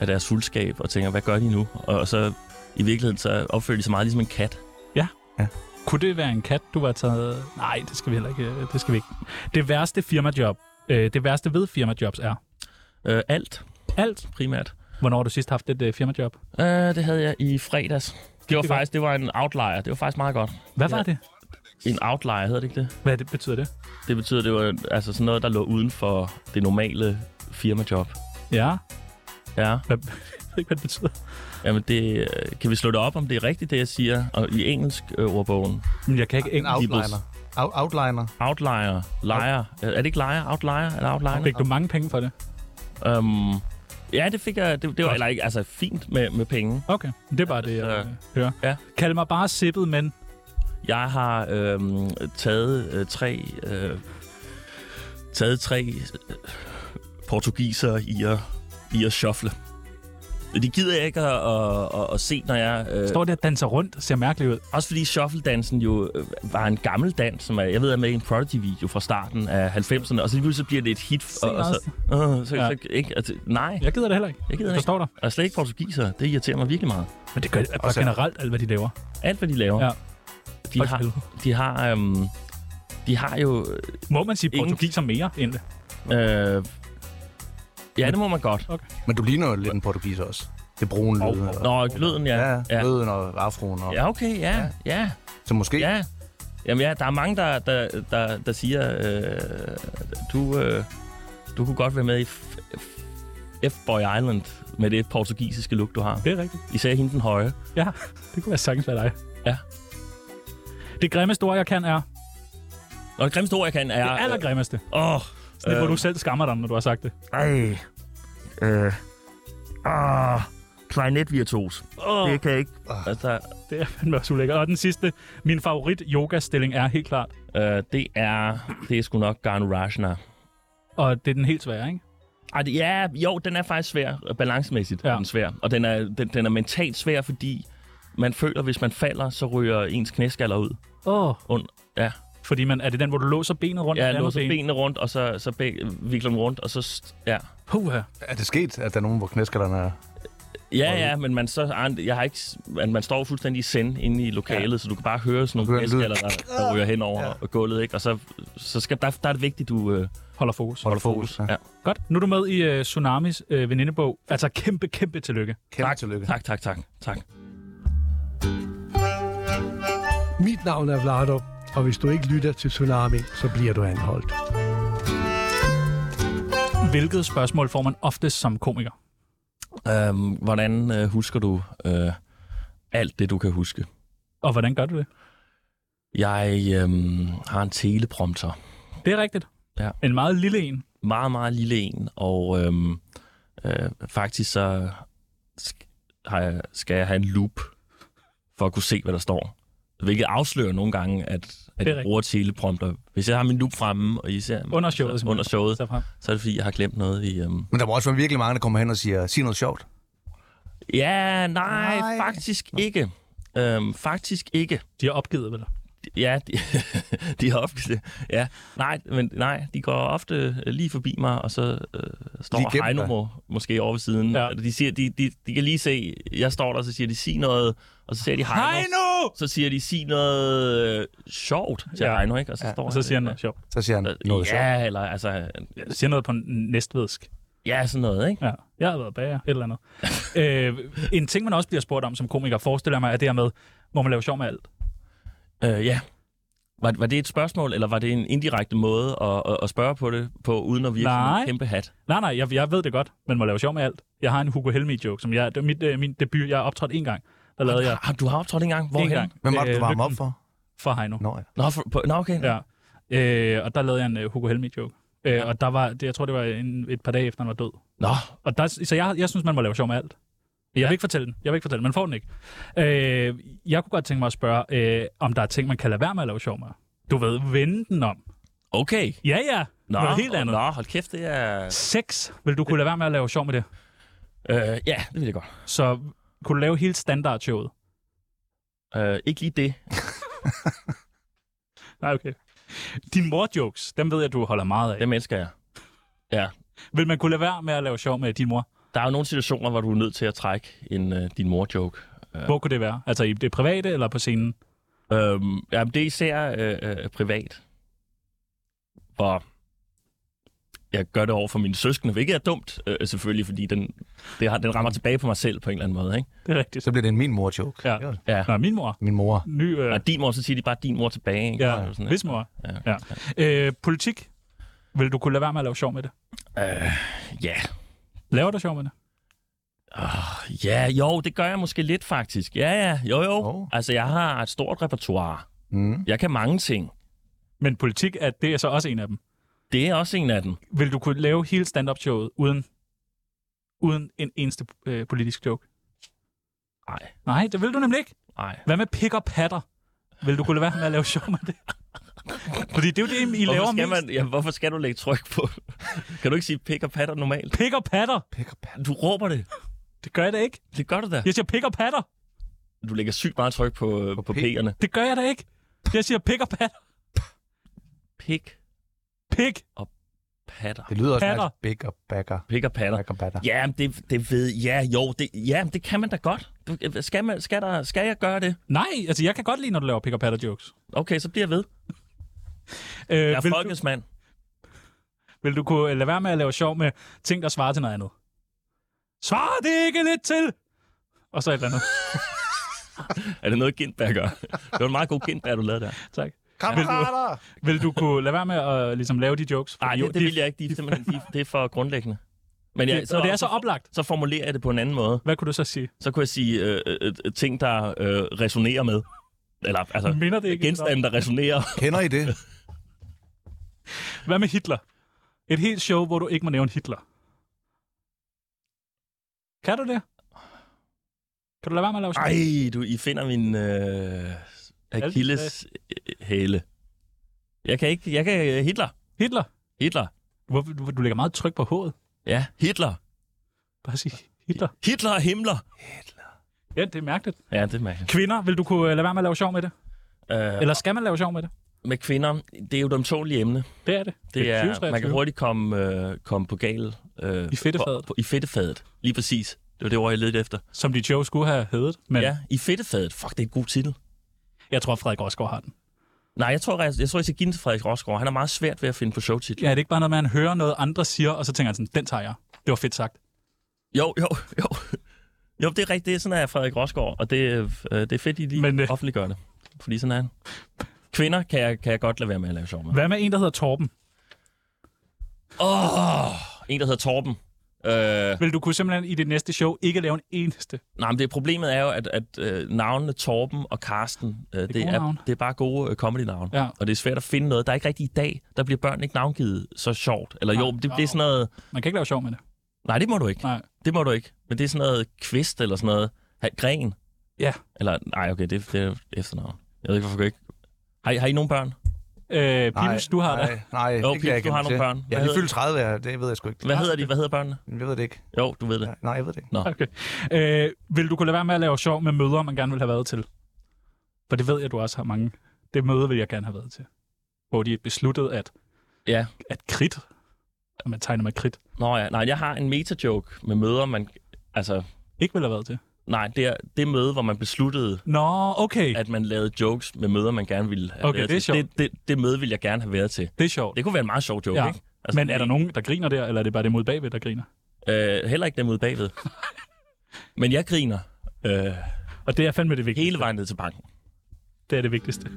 Speaker 4: af deres fuldskab og tænker, hvad gør de nu? Og, og så i virkeligheden så opfører de sig meget ligesom en kat.
Speaker 2: Kunne det være en kat, du var taget... Nej, det skal vi heller ikke. øh, Det skal vi ikke. Det værste firmajob, øh, det værste ved firmajobs er...
Speaker 4: Øh, alt
Speaker 2: Alt.
Speaker 4: primært.
Speaker 2: Hvornår har du sidst haft et øh, firmajob?
Speaker 4: Øh, det havde jeg i fredags. Det var
Speaker 2: det godt?
Speaker 4: faktisk det var en outlier. Det var faktisk meget godt.
Speaker 2: Hvad
Speaker 4: Ja.
Speaker 2: var det?
Speaker 4: En outlier hedder det ikke det?
Speaker 2: Hvad det, betyder det?
Speaker 4: Det betyder, det var altså sådan noget, der lå uden for det normale firmajob.
Speaker 2: Ja.
Speaker 4: Ja,
Speaker 2: Hvad, jeg ved ikke, hvad det betyder.
Speaker 4: jamen det, øh, kan vi slå det op, om det er rigtigt, det jeg siger? Og i engelsk øh, ordbogen,
Speaker 2: Men jeg kan ikke
Speaker 7: En
Speaker 2: engelsk.
Speaker 7: outliner. Out- outliner.
Speaker 4: outlier, liar. Er er det ikke liar, outlier eller outliner?
Speaker 2: Fik du mange penge for det?
Speaker 4: Okay. Um, ja, det fik jeg, det, det var eller ikke, altså fint med, med penge.
Speaker 2: Okay, det er bare det, jeg
Speaker 4: Ja.
Speaker 2: øh, hører.
Speaker 4: Ja.
Speaker 2: Kald mig bare sippet, men
Speaker 4: Jeg har øhm, taget øh, tre, øh, taget tre øh, portugiser i at, i at shuffle. De gider jeg ikke at, at, at, at se, når jeg... Øh,
Speaker 2: står der og danser rundt og ser mærkelig ud.
Speaker 4: Også fordi shuffle-dansen jo øh, var en gammel dans, som er, jeg ved er med i en Prodigy-video fra starten af 90'erne, og så lige pludselig bliver det et hit. Og, og så, øh, så, ja.
Speaker 2: Ja.
Speaker 4: så, ikke, altså, nej,
Speaker 2: Jeg gider det heller ikke.
Speaker 4: jeg gider
Speaker 2: jeg
Speaker 4: ikke.
Speaker 2: forstår dig.
Speaker 4: Og slet ikke portugiser, det irriterer mig virkelig meget.
Speaker 2: Men det gør det bare generelt, alt hvad de laver.
Speaker 4: Alt, hvad de laver.
Speaker 2: Ja.
Speaker 4: Ja. de har, de har, øhm, de har jo...
Speaker 2: Må man sige
Speaker 4: Ingen-
Speaker 2: portugiser mere end det?
Speaker 4: Øh, ja, det må man godt.
Speaker 7: Men du ligner jo lidt en portugiser også. Det brune
Speaker 2: Hov,
Speaker 7: lyd.
Speaker 2: hov.
Speaker 7: og-
Speaker 4: Nå, lyden, ja.
Speaker 7: Ja, ja.
Speaker 4: ja.
Speaker 7: Løden og afroen. Og, ja.
Speaker 4: Ja, okay, ja, ja,
Speaker 7: Så måske... Ja.
Speaker 4: ja. Jamen ja, der er mange, der, der, der, der siger, øh, du, øh, du kunne godt være med i F- F- F-Boy Island med det portugisiske look, du har.
Speaker 2: Det er rigtigt.
Speaker 4: Især hende den høje.
Speaker 2: Ja, det kunne være sagtens være dig.
Speaker 4: Ja.
Speaker 2: Det grimmeste ord, jeg kan, er...
Speaker 4: Og det grimmeste ord, jeg kan, er...
Speaker 2: Det allergrimmeste.
Speaker 4: Åh,
Speaker 2: Sådan øh, hvor du selv skammer dig, når du har sagt det.
Speaker 4: Ej. Øh. Ah. Klarinetvirtuos.
Speaker 2: Åh,
Speaker 4: Det kan jeg ikke. Altså,
Speaker 2: det er fandme også ulækkert. Og den sidste, min favorit yogastilling er helt klart.
Speaker 4: øh, det er... Det er sgu nok Garn Rajna.
Speaker 2: Og det er den helt svære, ikke?
Speaker 4: Ej, det, ja, jo, den er faktisk svær. øh, Balancemæssigt ja.
Speaker 2: Ja.
Speaker 4: er den svær. Og den er, den, den er mentalt svær, fordi man føler, hvis man falder, så ryger ens knæskaller ud.
Speaker 2: Åh. Oh.
Speaker 4: Und, ja,
Speaker 2: Fordi man, er det den, hvor du låser benet rundt?
Speaker 4: jeg
Speaker 2: om det andet
Speaker 4: låser
Speaker 2: ben?
Speaker 4: benene rundt, og så, så be, vikler dem rundt, og så... st- Ja.
Speaker 2: Puha.
Speaker 7: Er det sket, at der er nogen, hvor knæskallerne er...
Speaker 4: Ja, ja, men man, så, ej, jeg har ikke, s- man, man står jo fuldstændig i send inde i lokalet, ja. så du kan bare høre sådan nogle
Speaker 7: hører en lyd.
Speaker 4: knæskaller, der, der ryger hen over ja. gulvet, ikke? Og så, så skal, der, der er det vigtigt, du øh,
Speaker 2: Holder fokus.
Speaker 4: holder fokus.
Speaker 7: ja.
Speaker 4: Ja.
Speaker 2: Godt. Nu er du med i uh, Tsunamis uh, venindebog. Altså kæmpe, kæmpe tillykke.
Speaker 7: Kæmpe tak. tillykke.
Speaker 4: Tak, tak, tak, tak.
Speaker 5: Mit navn er Vlado, og hvis du ikke lytter til Tsunami, så bliver du anholdt.
Speaker 2: Hvilket spørgsmål får man oftest som komiker?
Speaker 4: Øhm, hvordan øh, husker du øh, alt det, du kan huske?
Speaker 2: Og hvordan gør du det?
Speaker 4: Jeg øhm, har en teleprompter.
Speaker 2: Det er rigtigt.
Speaker 4: Ja.
Speaker 2: En meget lille en.
Speaker 4: Meget, meget lille en, og øhm, øh, faktisk så sk- har jeg, skal jeg have en loop for at kunne se, hvad der står. Hvilket afslører nogle gange, at, at jeg
Speaker 2: rigtigt.
Speaker 4: bruger teleprompter. Hvis jeg har min loop fremme, og I ser mig,
Speaker 2: Under showet,
Speaker 4: så,
Speaker 2: simpelthen.
Speaker 4: under showet
Speaker 2: Så frem.
Speaker 4: så er det fordi, jeg har glemt noget i... Øhm...
Speaker 7: Men der må også være virkelig mange, der kommer hen og siger, sig noget sjovt.
Speaker 4: Ja, nej,
Speaker 7: Nej.
Speaker 4: nej, faktisk ikke. Øhm, faktisk ikke.
Speaker 2: De har opgivet ved dig.
Speaker 4: Ja, de, de er ofte... Ja, nej, men nej, de går ofte øh, lige forbi mig, og så øh,
Speaker 7: Lige
Speaker 4: står
Speaker 7: gennem
Speaker 4: Heino
Speaker 7: dig.
Speaker 4: må, måske over ved siden.
Speaker 2: Ja.
Speaker 4: Ja. De, siger, de, de, de kan lige se, jeg står der, så siger de, sig noget, og så siger de Heino.
Speaker 2: Heino!
Speaker 4: Så siger de, sig noget øh, sjovt til
Speaker 2: Ja.
Speaker 4: ja. Heino, ikke? Og så ja. står
Speaker 2: Og så siger han noget
Speaker 4: noget
Speaker 2: sjovt.
Speaker 7: Så siger han noget sjovt.
Speaker 4: Øh, Ja, eller altså... øh,
Speaker 2: Siger noget på næstvedsk.
Speaker 4: Ja, sådan noget, ikke?
Speaker 2: Ja, jeg har været bager, et eller andet. øh, en ting, man også bliver spurgt om som komiker, forestiller jeg mig, er det her med, må man lave sjov med alt?
Speaker 4: Øh, ja. Var, var det et spørgsmål, eller var det en indirekte måde at, at, at spørge på det på, uden at virke som
Speaker 2: Nej.
Speaker 4: en kæmpe hat?
Speaker 2: Nej, nej, jeg, jeg ved det godt, men må lave sjov med alt. Jeg har en Hugo Helmi-joke, som jeg, det var mit, øh, min debut, jeg optrådte en gang. Der lavede jeg
Speaker 4: Har, du har optrådt en gang? Hvorhen?
Speaker 2: en gang.
Speaker 7: Hvem var det, du
Speaker 2: øh,
Speaker 7: varme op
Speaker 2: Lygten
Speaker 7: for?
Speaker 2: For Heino.
Speaker 7: Nå, ja.
Speaker 4: Nå, for, på, nå okay.
Speaker 2: Ja. Øh, og der lavede jeg en uh, Hugo Helmi-joke. Øh, Og der var, det, jeg tror, det var en, et par dage efter, han var død.
Speaker 4: Nå,
Speaker 2: Og der, så jeg, jeg synes, man må lave sjov med alt. Jeg vil ikke fortælle den. Jeg vil ikke fortælle den. Man får den ikke. Øh, jeg kunne godt tænke mig at spørge, øh, om der er ting, man kan lade være med at lave sjov med. Du ved, vende den om.
Speaker 4: okay.
Speaker 2: Ja, ja.
Speaker 4: Nå,
Speaker 2: Noget helt andet.
Speaker 4: Nå, hold kæft, det er...
Speaker 2: Sex. Vil du kunne lade være med at lave sjov med det?
Speaker 4: Øh, ja, det vil jeg godt.
Speaker 2: Så kunne du lave hele standardshowet?
Speaker 4: Øh, ikke lige det.
Speaker 2: Nej, okay. Dine mor-jokes, dem ved jeg, du holder meget af.
Speaker 4: Det mennesker jeg. Ja.
Speaker 2: Vil man kunne lade være med at lave sjov med din mor?
Speaker 4: Der er jo nogle situationer, hvor du er nødt til at trække en, øh, din mor-joke.
Speaker 2: Ja. Hvor kunne det være? Altså i det private eller på scenen?
Speaker 4: Øhm, jamen, det er især øh, øh, privat. Hvor jeg gør det over for mine søskende, hvilket er dumt, øh, selvfølgelig, fordi den, det har, den rammer tilbage på mig selv på en eller anden måde. Ikke?
Speaker 2: Det er rigtigt.
Speaker 7: Så bliver det en min mor-joke.
Speaker 2: Ja.
Speaker 4: Ja.
Speaker 2: Nå, min mor.
Speaker 7: Min mor.
Speaker 2: Ny, øh,
Speaker 4: Og din mor, så siger de bare din mor tilbage. Ikke?
Speaker 2: ja,
Speaker 4: Eller sådan,
Speaker 2: hvis mor.
Speaker 4: Ja.
Speaker 2: Ja. Øh, politik. Vil du kunne lade være med at lave sjov med det?
Speaker 4: Øh, ja.
Speaker 2: Laver du sjov med det?
Speaker 4: Ja, jo, det gør jeg måske lidt faktisk. Ja, ja, jo, jo.
Speaker 7: Oh.
Speaker 4: Oh. Altså, jeg har et stort repertoire.
Speaker 7: Mm.
Speaker 4: Jeg kan mange ting.
Speaker 2: Men politik, er, det er så også en af dem.
Speaker 4: Det er også en af dem.
Speaker 2: Vil du kunne lave hele stand-up-showet uden, uden en eneste øh, politisk joke?
Speaker 4: Nej,
Speaker 2: Nej, det vil du nemlig ikke.
Speaker 4: nej.
Speaker 2: Hvad med pick og patter? Vil du kunne lade være med at lave sjov med det? Fordi det er jo det, I laver
Speaker 4: Hvorfor skal,
Speaker 2: mest.
Speaker 4: man, ja, hvorfor skal du lægge tryk på? kan du ikke sige pick og patter normalt?
Speaker 2: Pick og patter.
Speaker 4: Du råber det.
Speaker 2: Det gør jeg da ikke.
Speaker 4: Det gør du da.
Speaker 2: Jeg siger pick og patter.
Speaker 4: Du lægger sygt meget tryk på, øh, på, på
Speaker 7: P.
Speaker 4: p'erne.
Speaker 2: Det gør jeg da ikke. Jeg siger pick og patter.
Speaker 4: Pick,
Speaker 2: Pick,
Speaker 4: patter.
Speaker 7: Det lyder også
Speaker 2: Patter.
Speaker 7: mærkeligt. Big og backer.
Speaker 4: Pick og patter.
Speaker 7: Backer, batter.
Speaker 4: Ja, men det, det ved jeg. Ja, jo, det, ja, men det kan man da godt. øh, Skal, man, skal, der, skal jeg gøre det?
Speaker 2: Nej, altså jeg kan godt lide, når du laver pick patter jokes.
Speaker 4: Okay, så bliver jeg ved.
Speaker 2: Øh,
Speaker 4: Jeg er
Speaker 2: vil, du,
Speaker 4: folkets mand.
Speaker 2: vil du kunne øh, lade være med at lave sjov med ting, der svarer til noget andet? Svarer det ikke lidt til? Og så et eller andet.
Speaker 4: Er det noget, Gindberg gør? Det var en meget god Gindberg, du lavede der.
Speaker 2: tak.
Speaker 7: Kammerater!
Speaker 2: Vil du kunne lade være med at ligesom, lave de jokes?
Speaker 4: Nej,
Speaker 2: Fordi
Speaker 4: det,
Speaker 2: de-
Speaker 4: det vil jeg ikke. De, er simpelthen, de, det er for grundlæggende. Men
Speaker 2: de-
Speaker 4: jeg, så,
Speaker 2: og det er så oplagt.
Speaker 4: så formulerer jeg det på en anden måde.
Speaker 2: Hvad kunne du så sige?
Speaker 4: Så kunne jeg sige øh, øh, øh, ting, der øh, resonerer med. Eller altså,
Speaker 2: Minder det ikke?
Speaker 4: genstande, der resonerer.
Speaker 7: Kender I det?
Speaker 2: Hvad med Hitler? Et helt show, hvor du ikke må nævne Hitler. Kan du det? Kan du lade være med at lave sjov?
Speaker 4: Ej, du, I finder min øh, Achilles øh, hæle. Jeg kan ikke... Jeg kan... øh, Hitler.
Speaker 2: Hitler?
Speaker 4: Hitler.
Speaker 2: Hvorfor- Du, du lægger meget tryk på hovedet.
Speaker 4: Ja, Hitler.
Speaker 2: Bare sig Hitler.
Speaker 4: Hitler og Himmler.
Speaker 2: Ja, det er mærkeligt.
Speaker 4: Ja, det er mærkeligt.
Speaker 2: Kvinder, vil du kunne øh, lade være med at lave sjov med det?
Speaker 4: Øh,
Speaker 2: Eller skal man lave sjov med det?
Speaker 4: med kvinder, det er jo et omtålige emne.
Speaker 2: Det er det.
Speaker 4: Det er,
Speaker 2: 2023.
Speaker 4: man kan hurtigt komme, øh, komme på gal. Øh,
Speaker 2: I fedtefadet.
Speaker 4: På, på, I fedtefadet. Lige præcis. Det var det ord, jeg ledte efter.
Speaker 2: Som dit show skulle have heddet. Men
Speaker 4: Men.
Speaker 2: ja.
Speaker 4: Ja, i fedtefadet. Fuck, det er en god titel.
Speaker 2: jeg tror, Frederik Rosgaard har den.
Speaker 4: Nej, jeg tror, jeg, jeg tror, jeg skal give den til Frederik Rosgaard. Han er meget svært ved at finde på showtitler.
Speaker 2: Ja, er det ikke bare noget med, at han hører noget, andre siger, og så tænker han sådan, den tager jeg. Det var fedt sagt.
Speaker 4: Jo, jo, jo. Jo, det er rigtigt. Det er sådan, er Frederik Rosgaard, og det, øh, det er fedt, I lige
Speaker 2: Men,
Speaker 4: Men,
Speaker 2: øh,
Speaker 4: øh... offentliggør det. Fordi sådan er han. Kvinder kan jeg, kan jeg godt lade være med at lave sjov med.
Speaker 2: Hvad med en, der hedder Torben?
Speaker 4: Åh, oh, en, der hedder Torben. Øh,
Speaker 2: Vil du kunne simpelthen i det næste show ikke lave en eneste?
Speaker 4: nej, men det problemet er jo, at, at øh, navnene Torben og Karsten, øh, det,
Speaker 2: gode navne.
Speaker 4: er, det er bare gode øh, comedy-navne.
Speaker 2: Ja.
Speaker 4: Og det er svært at finde noget. Der er ikke rigtig i dag, der bliver børn ikke navngivet så sjovt. Eller jo,
Speaker 2: Nej,
Speaker 4: det, det
Speaker 2: wow.
Speaker 4: er sådan noget...
Speaker 2: Man kan ikke lave sjov med det.
Speaker 4: Nej, det må du ikke.
Speaker 2: Nej.
Speaker 4: Det må du ikke. Men det er sådan noget kvist eller sådan noget. Ha, gren.
Speaker 2: Ja.
Speaker 4: Eller, nej, okay, det, det er efternavn. Jeg ved ikke, hvorfor jeg ikke... Har I, har I nogen børn?
Speaker 2: Øh, Pimus, du har det.
Speaker 7: nej, nej,
Speaker 4: Jo,
Speaker 7: det kan
Speaker 4: Pibus,
Speaker 7: jeg ikke
Speaker 4: du har
Speaker 7: til.
Speaker 4: nogle børn.
Speaker 7: Ja,
Speaker 4: Hvad
Speaker 7: de
Speaker 4: hedder
Speaker 7: fyldte 30, ja, det ved jeg sgu ikke.
Speaker 4: Hvad hedder de? Hvad hedder børnene?
Speaker 7: Jeg ved det ikke.
Speaker 4: Jo, du ved det.
Speaker 7: Nej, jeg ved det ikke.
Speaker 2: Okay. Øh, vil du kunne lade være med at lave sjov med møder, man gerne vil have været til? For det ved jeg, du også har mange. Det møde vil jeg gerne have været til. Hvor de besluttede, at,
Speaker 4: Ja.
Speaker 2: at krit, at man tegner med krit,
Speaker 4: Nå ja, nej, jeg har en meta-joke med møder, man... Altså,
Speaker 2: ikke ville have været til.
Speaker 4: nej, det er det møde, hvor man besluttede,
Speaker 2: Nå, okay.
Speaker 4: at man lavede jokes med møder, man gerne ville have
Speaker 2: Okay,
Speaker 4: været
Speaker 2: det er
Speaker 4: til.
Speaker 2: sjovt.
Speaker 4: Det, det, det møde ville jeg gerne have været til.
Speaker 2: Det er sjovt.
Speaker 4: Det kunne være en meget sjov joke,
Speaker 2: Ja.
Speaker 4: ikke? Altså,
Speaker 2: Men er der nogen, der griner der, eller er det bare det mod bagved, der griner?
Speaker 4: Øh, heller ikke dem ude bagved. Men jeg griner øh,
Speaker 2: Og det er fandme det vigtigste.
Speaker 4: hele vejen ned til banken.
Speaker 2: Det er det vigtigste.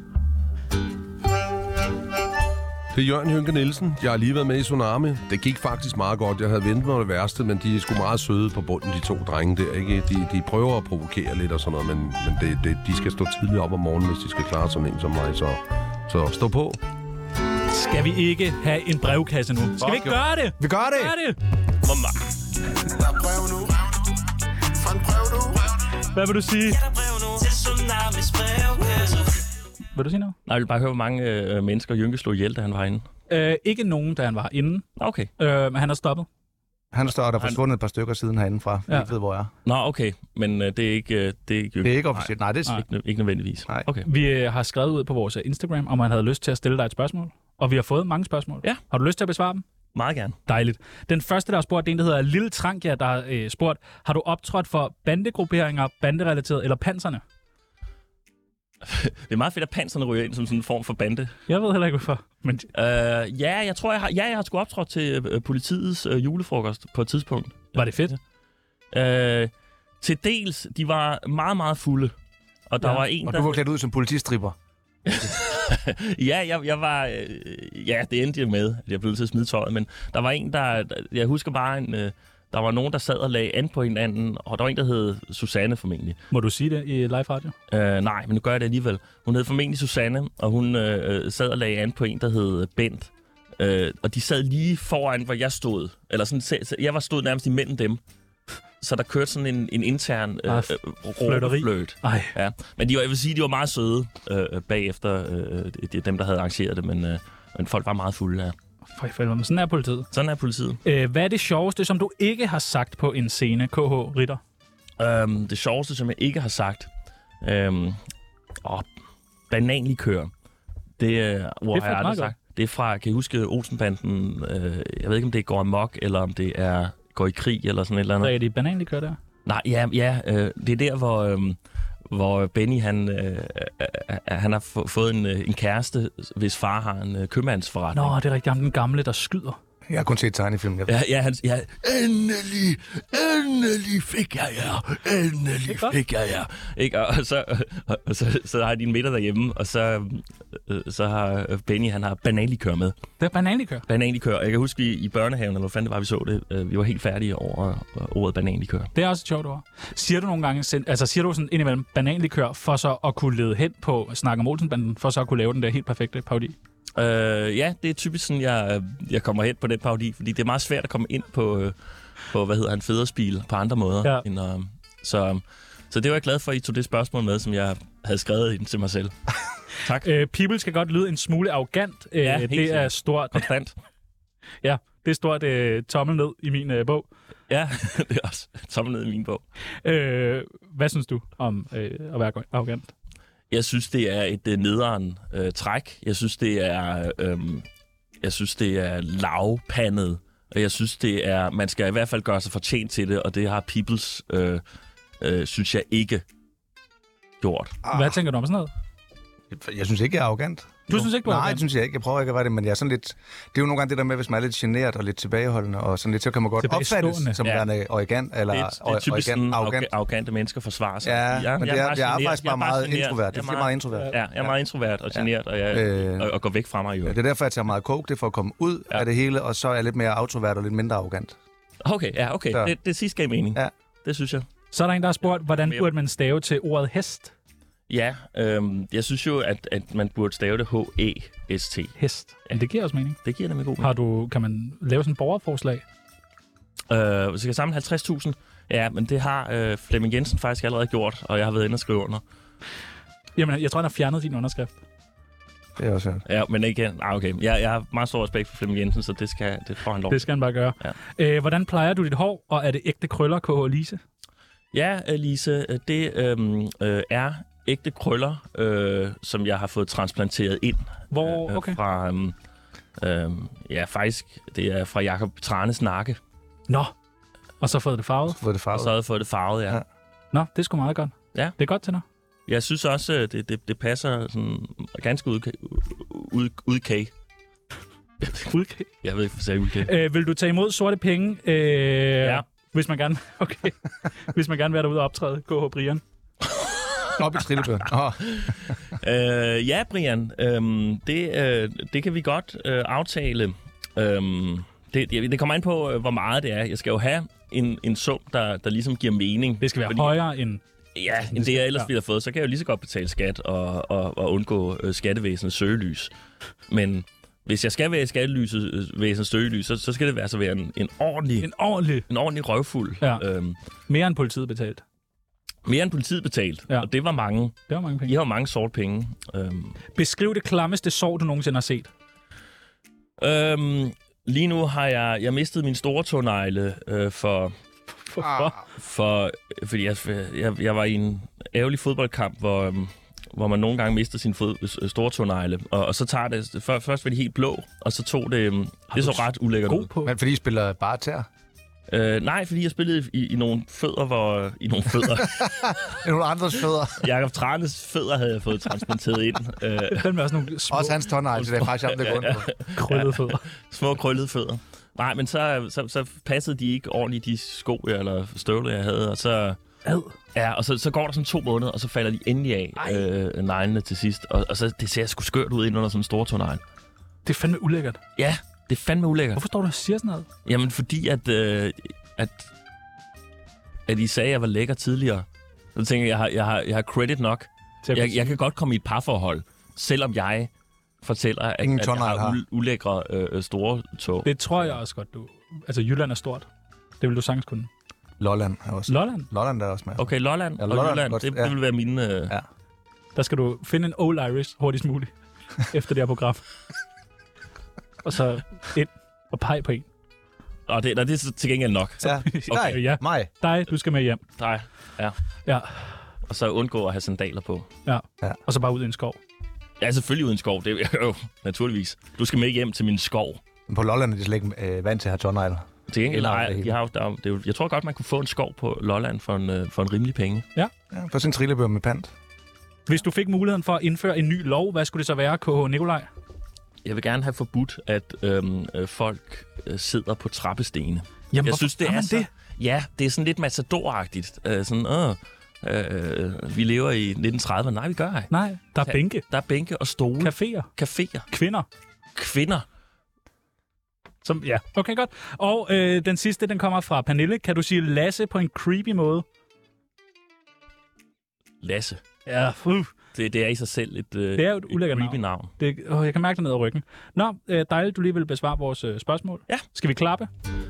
Speaker 10: Det er Jørgen Hynke Nielsen. Jeg har lige været med i Tsunami. Det gik faktisk meget godt. Jeg havde ventet mig det værste, men de er sgu meget søde på bunden, de to drenge der. Ikke? De, de prøver at provokere lidt og sådan noget, men, men det, det, de skal stå tidligt op om morgenen, hvis de skal klare sådan en som mig. Så, så stå på.
Speaker 2: Skal vi ikke have en brevkasse nu? Skal vi ikke gøre det?
Speaker 7: Vi gør det!
Speaker 2: Gør det!
Speaker 4: Hvor ma-
Speaker 9: Der er brev nu. For en brev nu.
Speaker 2: Hvad vil du sige?
Speaker 6: Der er brev nu til Tsunamis brevkasse.
Speaker 2: Vil du sige noget?
Speaker 4: Nej, jeg vil bare høre, hvor mange øh, mennesker Jynke slog ihjel, da han var inde.
Speaker 2: Øh, ikke nogen, da han var inde.
Speaker 4: Nå, Okay.
Speaker 2: Øh, men han er stoppet.
Speaker 7: Han står der er forsvundet et par stykker siden herindefra. Ja.
Speaker 2: Ja.
Speaker 7: Jeg ikke ved, hvor jeg er.
Speaker 4: Nå, okay. Men øh, det er ikke, øh, det er ikke
Speaker 7: Det
Speaker 4: Jynke.
Speaker 7: er ikke officielt. Nej, det er
Speaker 4: Ikke, ikke nødvendigvis.
Speaker 7: Nej.
Speaker 4: Okay.
Speaker 2: Vi øh, har skrevet ud på vores øh, Instagram, om man havde lyst til at stille dig et spørgsmål. Og vi har fået mange spørgsmål.
Speaker 4: Ja.
Speaker 2: Har du lyst til at besvare dem?
Speaker 4: Meget gerne.
Speaker 2: Dejligt. Den første, der har spurgt, det er en, der hedder Lille Trankja, der har øh, spurgt, har du optrådt for bandegrupperinger, banderelateret eller panserne?
Speaker 4: Det er meget fedt, at panserne ryger ind som sådan en form for bande.
Speaker 2: Jeg ved heller ikke, hvorfor. Men
Speaker 4: Øh, ja, jeg tror, jeg har, ja, jeg har sgu optrådt til øh, politiets øh, julefrokost på et tidspunkt.
Speaker 2: var det fedt?
Speaker 4: Øh, til dels, de var meget, meget fulde. Og der
Speaker 2: Ja.
Speaker 4: ja. var en,
Speaker 7: Og
Speaker 4: der...
Speaker 7: du var klædt ud som politistripper.
Speaker 4: Ja, jeg, jeg var... Øh, ja, det endte jeg med, at jeg blev nødt til at smide tøjet, men der var en, der... der- Jeg husker bare en... Øh, der var nogen, der sad og lagde an på hinanden, og der var en, der hed Susanne formentlig.
Speaker 2: Må du sige det i live radio?
Speaker 4: Øh, nej, men nu gør jeg det alligevel. Hun hed formentlig Susanne, og hun øh, øh, sad og lagde an på en, der hed Bent. Øh, og de sad lige foran, hvor jeg stod. Eller sådan, se- se- jeg var stod nærmest imellem dem. Så der kørte sådan en, en intern øh,
Speaker 2: Ah,
Speaker 4: øh,
Speaker 2: f- flirteri.
Speaker 4: fløjt.
Speaker 2: Nej.
Speaker 4: Ja, men de var, jeg vil sige, de var meget søde øh, bagefter, øh, de, dem, der havde arrangeret det, men, øh, men folk var meget fulde af. Ja.
Speaker 2: For i fælde, men sådan er politiet.
Speaker 4: Sådan er politiet.
Speaker 2: Øh, hvad er det sjoveste, som du ikke har sagt på en scene, KH Ritter?
Speaker 4: Øhm, det sjoveste, som jeg ikke har sagt, øhm, åh, bananlikør, det, øh, hvor
Speaker 2: Det er faktisk
Speaker 4: det har jeg aldrig
Speaker 2: meget
Speaker 4: sagt. Det er fra, kan I huske Olsenbanden, øh, jeg ved ikke, om det går amok, eller om det er går i krig, eller sådan et eller andet.
Speaker 2: Drikker de banan, de kører der?
Speaker 4: Nej, ja, ja øh, det er der, hvor, øh, hvor Benny han, øh, øh, han har få- fået en, øh, en kæreste, hvis far har en øh, købmandsforretning.
Speaker 2: Nå, det er rigtigt. Ham den gamle, der skyder.
Speaker 7: Jeg har kun set tegnefilm. Jeg...
Speaker 4: Ja, ja, han, ja,
Speaker 6: Endelig, endelig fik jeg jer. Endelig
Speaker 4: fik jeg, ja. Ikke? Og, og, så, og, og så, så har de en middag derhjemme, og så, øh, så har Benny, han har banalikør med.
Speaker 2: Det er bananikør.
Speaker 4: Banalikør. Jeg kan huske, vi i børnehaven, eller hvor fanden det var, vi så det, øh, vi var helt færdige over øh, ordet banalikør.
Speaker 2: Det er også et sjovt ord. Siger du nogle gange, sind- altså siger du sådan indimellem bananlikør, for så at kunne lede hen på Snak om Olsenbanden, for så at kunne lave den der helt perfekte parodi?
Speaker 4: Øh, ja, det er typisk sådan, jeg, jeg kommer hen på den parodi, fordi det er meget svært at komme ind på, øh, på hvad hedder han, fædrespil på andre måder.
Speaker 2: Ja.
Speaker 4: End, øh, så, så det var jeg glad for, at I tog det spørgsmål med, som jeg havde skrevet ind til mig selv. tak.
Speaker 2: Øh, people skal godt lyde en smule arrogant. Øh,
Speaker 4: Ja, helt
Speaker 2: det er
Speaker 4: sikkert.
Speaker 2: stort.
Speaker 4: Konstant.
Speaker 2: ja, det er stort øh, tommel ned i min øh, bog.
Speaker 4: Ja, det er også tommel ned i min bog.
Speaker 2: Øh, hvad synes du om øh, at være arrogant?
Speaker 4: Jeg synes, det er et øh, nederen øh, træk. Jeg synes, det er... Øh, jeg synes, det er lavpandet. Og jeg synes, det er... Man skal i hvert fald gøre sig fortjent til det, og det har Peoples, øh, øh, synes jeg, ikke gjort.
Speaker 2: Hvad tænker du om sådan noget?
Speaker 7: Jeg synes ikke, jeg er arrogant.
Speaker 2: Du synes ikke, du er
Speaker 7: Nej,
Speaker 2: arrogant?
Speaker 7: det synes jeg ikke. Jeg prøver ikke at være det, men jeg er sådan lidt... Det er jo nogle gange det der med, hvis man er lidt generet og lidt tilbageholdende, og sådan lidt, så kan man godt opfattes
Speaker 2: Tilbagestående.
Speaker 7: som
Speaker 4: Ja.
Speaker 7: ja. værende arrogant, eller
Speaker 4: det, er, det er typisk sådan, arrogant. arrogante mennesker forsvarer sig.
Speaker 7: Ja, men det er- jeg er
Speaker 4: genert.
Speaker 7: faktisk bare
Speaker 4: Jeg
Speaker 7: meget
Speaker 4: genert.
Speaker 7: introvert.
Speaker 4: Jeg
Speaker 7: Det er meget introvert.
Speaker 4: Ja, jeg er meget introvert og genert, og, jeg,
Speaker 7: Øh.
Speaker 4: og, og går væk fra mig. Jo.
Speaker 7: Ja, det er derfor, jeg tager meget coke, det er for at komme ud
Speaker 4: Ja.
Speaker 7: ja. af det hele, og så er jeg lidt mere autovært og lidt mindre arrogant.
Speaker 4: Okay, ja, okay.
Speaker 7: Så.
Speaker 4: Det, det sidste gav mening.
Speaker 7: Ja.
Speaker 4: Det synes jeg.
Speaker 2: Så er der en, der har spurgt, hvordan burde man stave til ordet hest?
Speaker 4: Ja, øhm, jeg synes jo, at, at man burde stave det H-E-S-T.
Speaker 2: Hest. Ja. Det giver også mening.
Speaker 4: Det giver nemlig god mening.
Speaker 2: Har du, kan man lave sådan et borgerforslag?
Speaker 4: Øh, hvis jeg kan samle 50.000, ja, men det har øh, Flemming Jensen faktisk allerede gjort, og jeg har været inde og skrive under.
Speaker 2: Jamen, jeg tror, han har fjernet din underskrift.
Speaker 7: Det er også hørt.
Speaker 4: Ja, men ikke... Ah, okay. Jeg, jeg har meget stor respekt for Flemming Jensen, så det, skal, det får han lov.
Speaker 2: Det skal han bare gøre.
Speaker 4: Ja.
Speaker 2: Øh, hvordan plejer du dit hår, og er det ægte krøller, KH Lise?
Speaker 4: Ja, øh, Lise, øh, det øhm, øh, er ægte krøller, øh, som jeg har fået transplanteret ind. øh,
Speaker 2: Hvor, okay.
Speaker 4: Fra, øhm, øhm, ja, faktisk, det er fra Jakob Tranes nakke,
Speaker 2: Nå, og så fået det farvet?
Speaker 7: Fået det
Speaker 4: og så
Speaker 7: farvet.
Speaker 4: har jeg fået det farvet, ja. ja.
Speaker 7: Ja.
Speaker 2: Nå, det er sgu meget godt.
Speaker 4: Ja.
Speaker 2: Det er godt til dig.
Speaker 4: Jeg synes også, øh, det, det, det passer sådan ganske ud, ud, udkage.
Speaker 2: Okay.
Speaker 4: Jeg ved ikke, hvad jeg udkage.
Speaker 2: Øh, vil du tage imod sorte penge, øh,
Speaker 4: Ja.
Speaker 2: hvis man gerne okay. hvis man gerne vil være derude og optræde, KH Brian?
Speaker 4: Altså-
Speaker 7: Op i trillebøren. Oh,
Speaker 4: Øh, ja, Brian, øhm, det, øh, det kan vi godt øh, aftale. Øhm, det, det det kommer an på, øh, hvor meget det er. Jeg skal jo have en, en sum, der, der ligesom giver mening.
Speaker 2: Det skal være
Speaker 4: Fordi-
Speaker 2: højere end...
Speaker 4: Ja, end det jeg ellers ville have fået. Så kan jeg jo lige så godt betale skat og, og, og undgå øh, skattevæsenets søgelys. Men hvis jeg skal være i skattevæsenets søgelys, så, så skal det være så være en, en, ordentlig, en,
Speaker 2: En ordentlig...
Speaker 4: en ordentlig røvfuld.
Speaker 2: Ja.
Speaker 4: Øhm,
Speaker 2: Mere end politiet betalt.
Speaker 4: mere end politiet betalt,
Speaker 2: Ja.
Speaker 4: ja. og det var mange.
Speaker 2: Det var mange
Speaker 4: I
Speaker 2: penge.
Speaker 4: har jo mange sorte penge. Øhm,
Speaker 2: Beskriv det klammeste sår, du nogensinde har set.
Speaker 4: Øhm, lige nu har jeg, jeg mistet min store tånegle øh, for,
Speaker 2: Hvorfor? Ah.
Speaker 4: for, fordi jeg, jeg, jeg var i en ærgerlig fodboldkamp, hvor, øhm, hvor man nogle gange mister sin fod, øh, store tånegle. Og, og så tager det, før, først var de helt blå, og så tog det, øhm, det så ret ulækkert
Speaker 2: God
Speaker 4: ud.
Speaker 2: på.
Speaker 7: men fordi I spiller bare tær.
Speaker 4: Øh, nej, fordi jeg spillede i, i nogle fødder, hvor, i nogle fødder.
Speaker 7: Det er nogle andres fødder.
Speaker 4: Jakob Tranes fødder havde jeg fået transplanteret ind. Øh,
Speaker 2: Den var også nogle små
Speaker 7: Også hans tårnegle, så det er faktisk ham, der går rundt på.
Speaker 2: krøllede fødder.
Speaker 4: Små krøllede fødder. Nej, men så, så, så passede de ikke ordentligt de sko jeg- eller støvler, jeg havde, og så... Ad. Ja, og så, så går der sådan to måneder, og så falder de endelig af øh, neglene til sidst. Og, og så det ser sgu skørt ud ind under sådan en stor tånegl.
Speaker 2: Det er fandme ulækkert.
Speaker 4: Ja, det er fandme ulækkert.
Speaker 2: Hvorfor står du og siger sådan noget?
Speaker 4: Jamen, fordi at, øh, at, at I sagde, at jeg var lækker tidligere. Så tænker jeg, jeg har, jeg har, jeg har credit nok.
Speaker 2: Til at
Speaker 4: Jeg, jeg kan godt komme i et parforhold, selvom jeg fortæller, at,
Speaker 7: Ingen
Speaker 4: at jeg
Speaker 7: tånegl
Speaker 4: har
Speaker 7: har.
Speaker 4: u- ulækre øh, øh, store tog.
Speaker 2: Det tror jeg også godt, du... Altså, Jylland er stort. Det vil du sagtens kunne.
Speaker 7: Lolland er også.
Speaker 2: Lolland,
Speaker 7: Lolland er også med.
Speaker 4: Okay, Lolland
Speaker 7: Ja,
Speaker 4: og
Speaker 7: Lolland,
Speaker 4: Jylland,
Speaker 7: godt,
Speaker 4: det,
Speaker 7: ja.
Speaker 4: det vil være mine... Øh,
Speaker 7: Ja.
Speaker 2: der skal du finde en old Irish hurtigst muligt efter det her program. Og så ind og pege på en.
Speaker 4: Og det, nej, det er så til gengæld nok.
Speaker 7: Ja.
Speaker 4: Okay,
Speaker 7: Nej,
Speaker 2: ja.
Speaker 7: mig.
Speaker 2: Dig, du skal med hjem.
Speaker 4: Nej. Ja.
Speaker 2: Ja.
Speaker 4: Og så undgå at have sandaler på.
Speaker 2: Og så bare ud i en skov.
Speaker 4: Ja, selvfølgelig uden skov. Det er jo naturligvis. Du skal med hjem til min skov.
Speaker 7: Men på Lolland er de slet ikke øh, vant til at have tårnegler.
Speaker 4: Til gengæld,
Speaker 11: Eller
Speaker 4: nej,
Speaker 11: det hele.
Speaker 4: de har jo, der, er jo- det er jo, jeg tror godt, man kunne få en skov på Lolland for en, øh, for en rimelig penge.
Speaker 2: Ja.
Speaker 7: ja for sådan en trillebør med pant.
Speaker 2: Hvis du fik muligheden for at indføre en ny lov, hvad skulle det så være, KH Nikolaj?
Speaker 4: Jeg vil gerne have forbudt, at øhm, øh, folk øh, sidder på trappestene.
Speaker 2: Jamen,
Speaker 4: jeg
Speaker 2: hvorfor gør man
Speaker 4: så,
Speaker 2: det?
Speaker 4: Ja, det er sådan lidt matadoragtigt. Øh, sådan, åh, øh, øh, vi lever i 1930'erne. Nej, vi gør ej.
Speaker 2: Nej, der er
Speaker 4: Ja,
Speaker 2: bænke.
Speaker 4: Der er bænke og stole.
Speaker 2: Caféer.
Speaker 4: Caféer.
Speaker 2: Kvinder.
Speaker 4: Kvinder.
Speaker 2: Som, ja, okay, godt. Og øh, den sidste, den kommer fra Pernille. Kan du sige Lasse på en creepy måde?
Speaker 4: Lasse.
Speaker 2: Ja, uh,
Speaker 4: Det, det er i sig selv et, øh,
Speaker 2: det er jo et ulækkert
Speaker 4: creepy
Speaker 2: navn.
Speaker 4: navn.
Speaker 2: Det, åh, jeg kan mærke det ned ad ryggen. Nå, øh, dejligt, du lige vil besvare vores øh, spørgsmål.
Speaker 4: Ja.
Speaker 2: Skal vi klappe?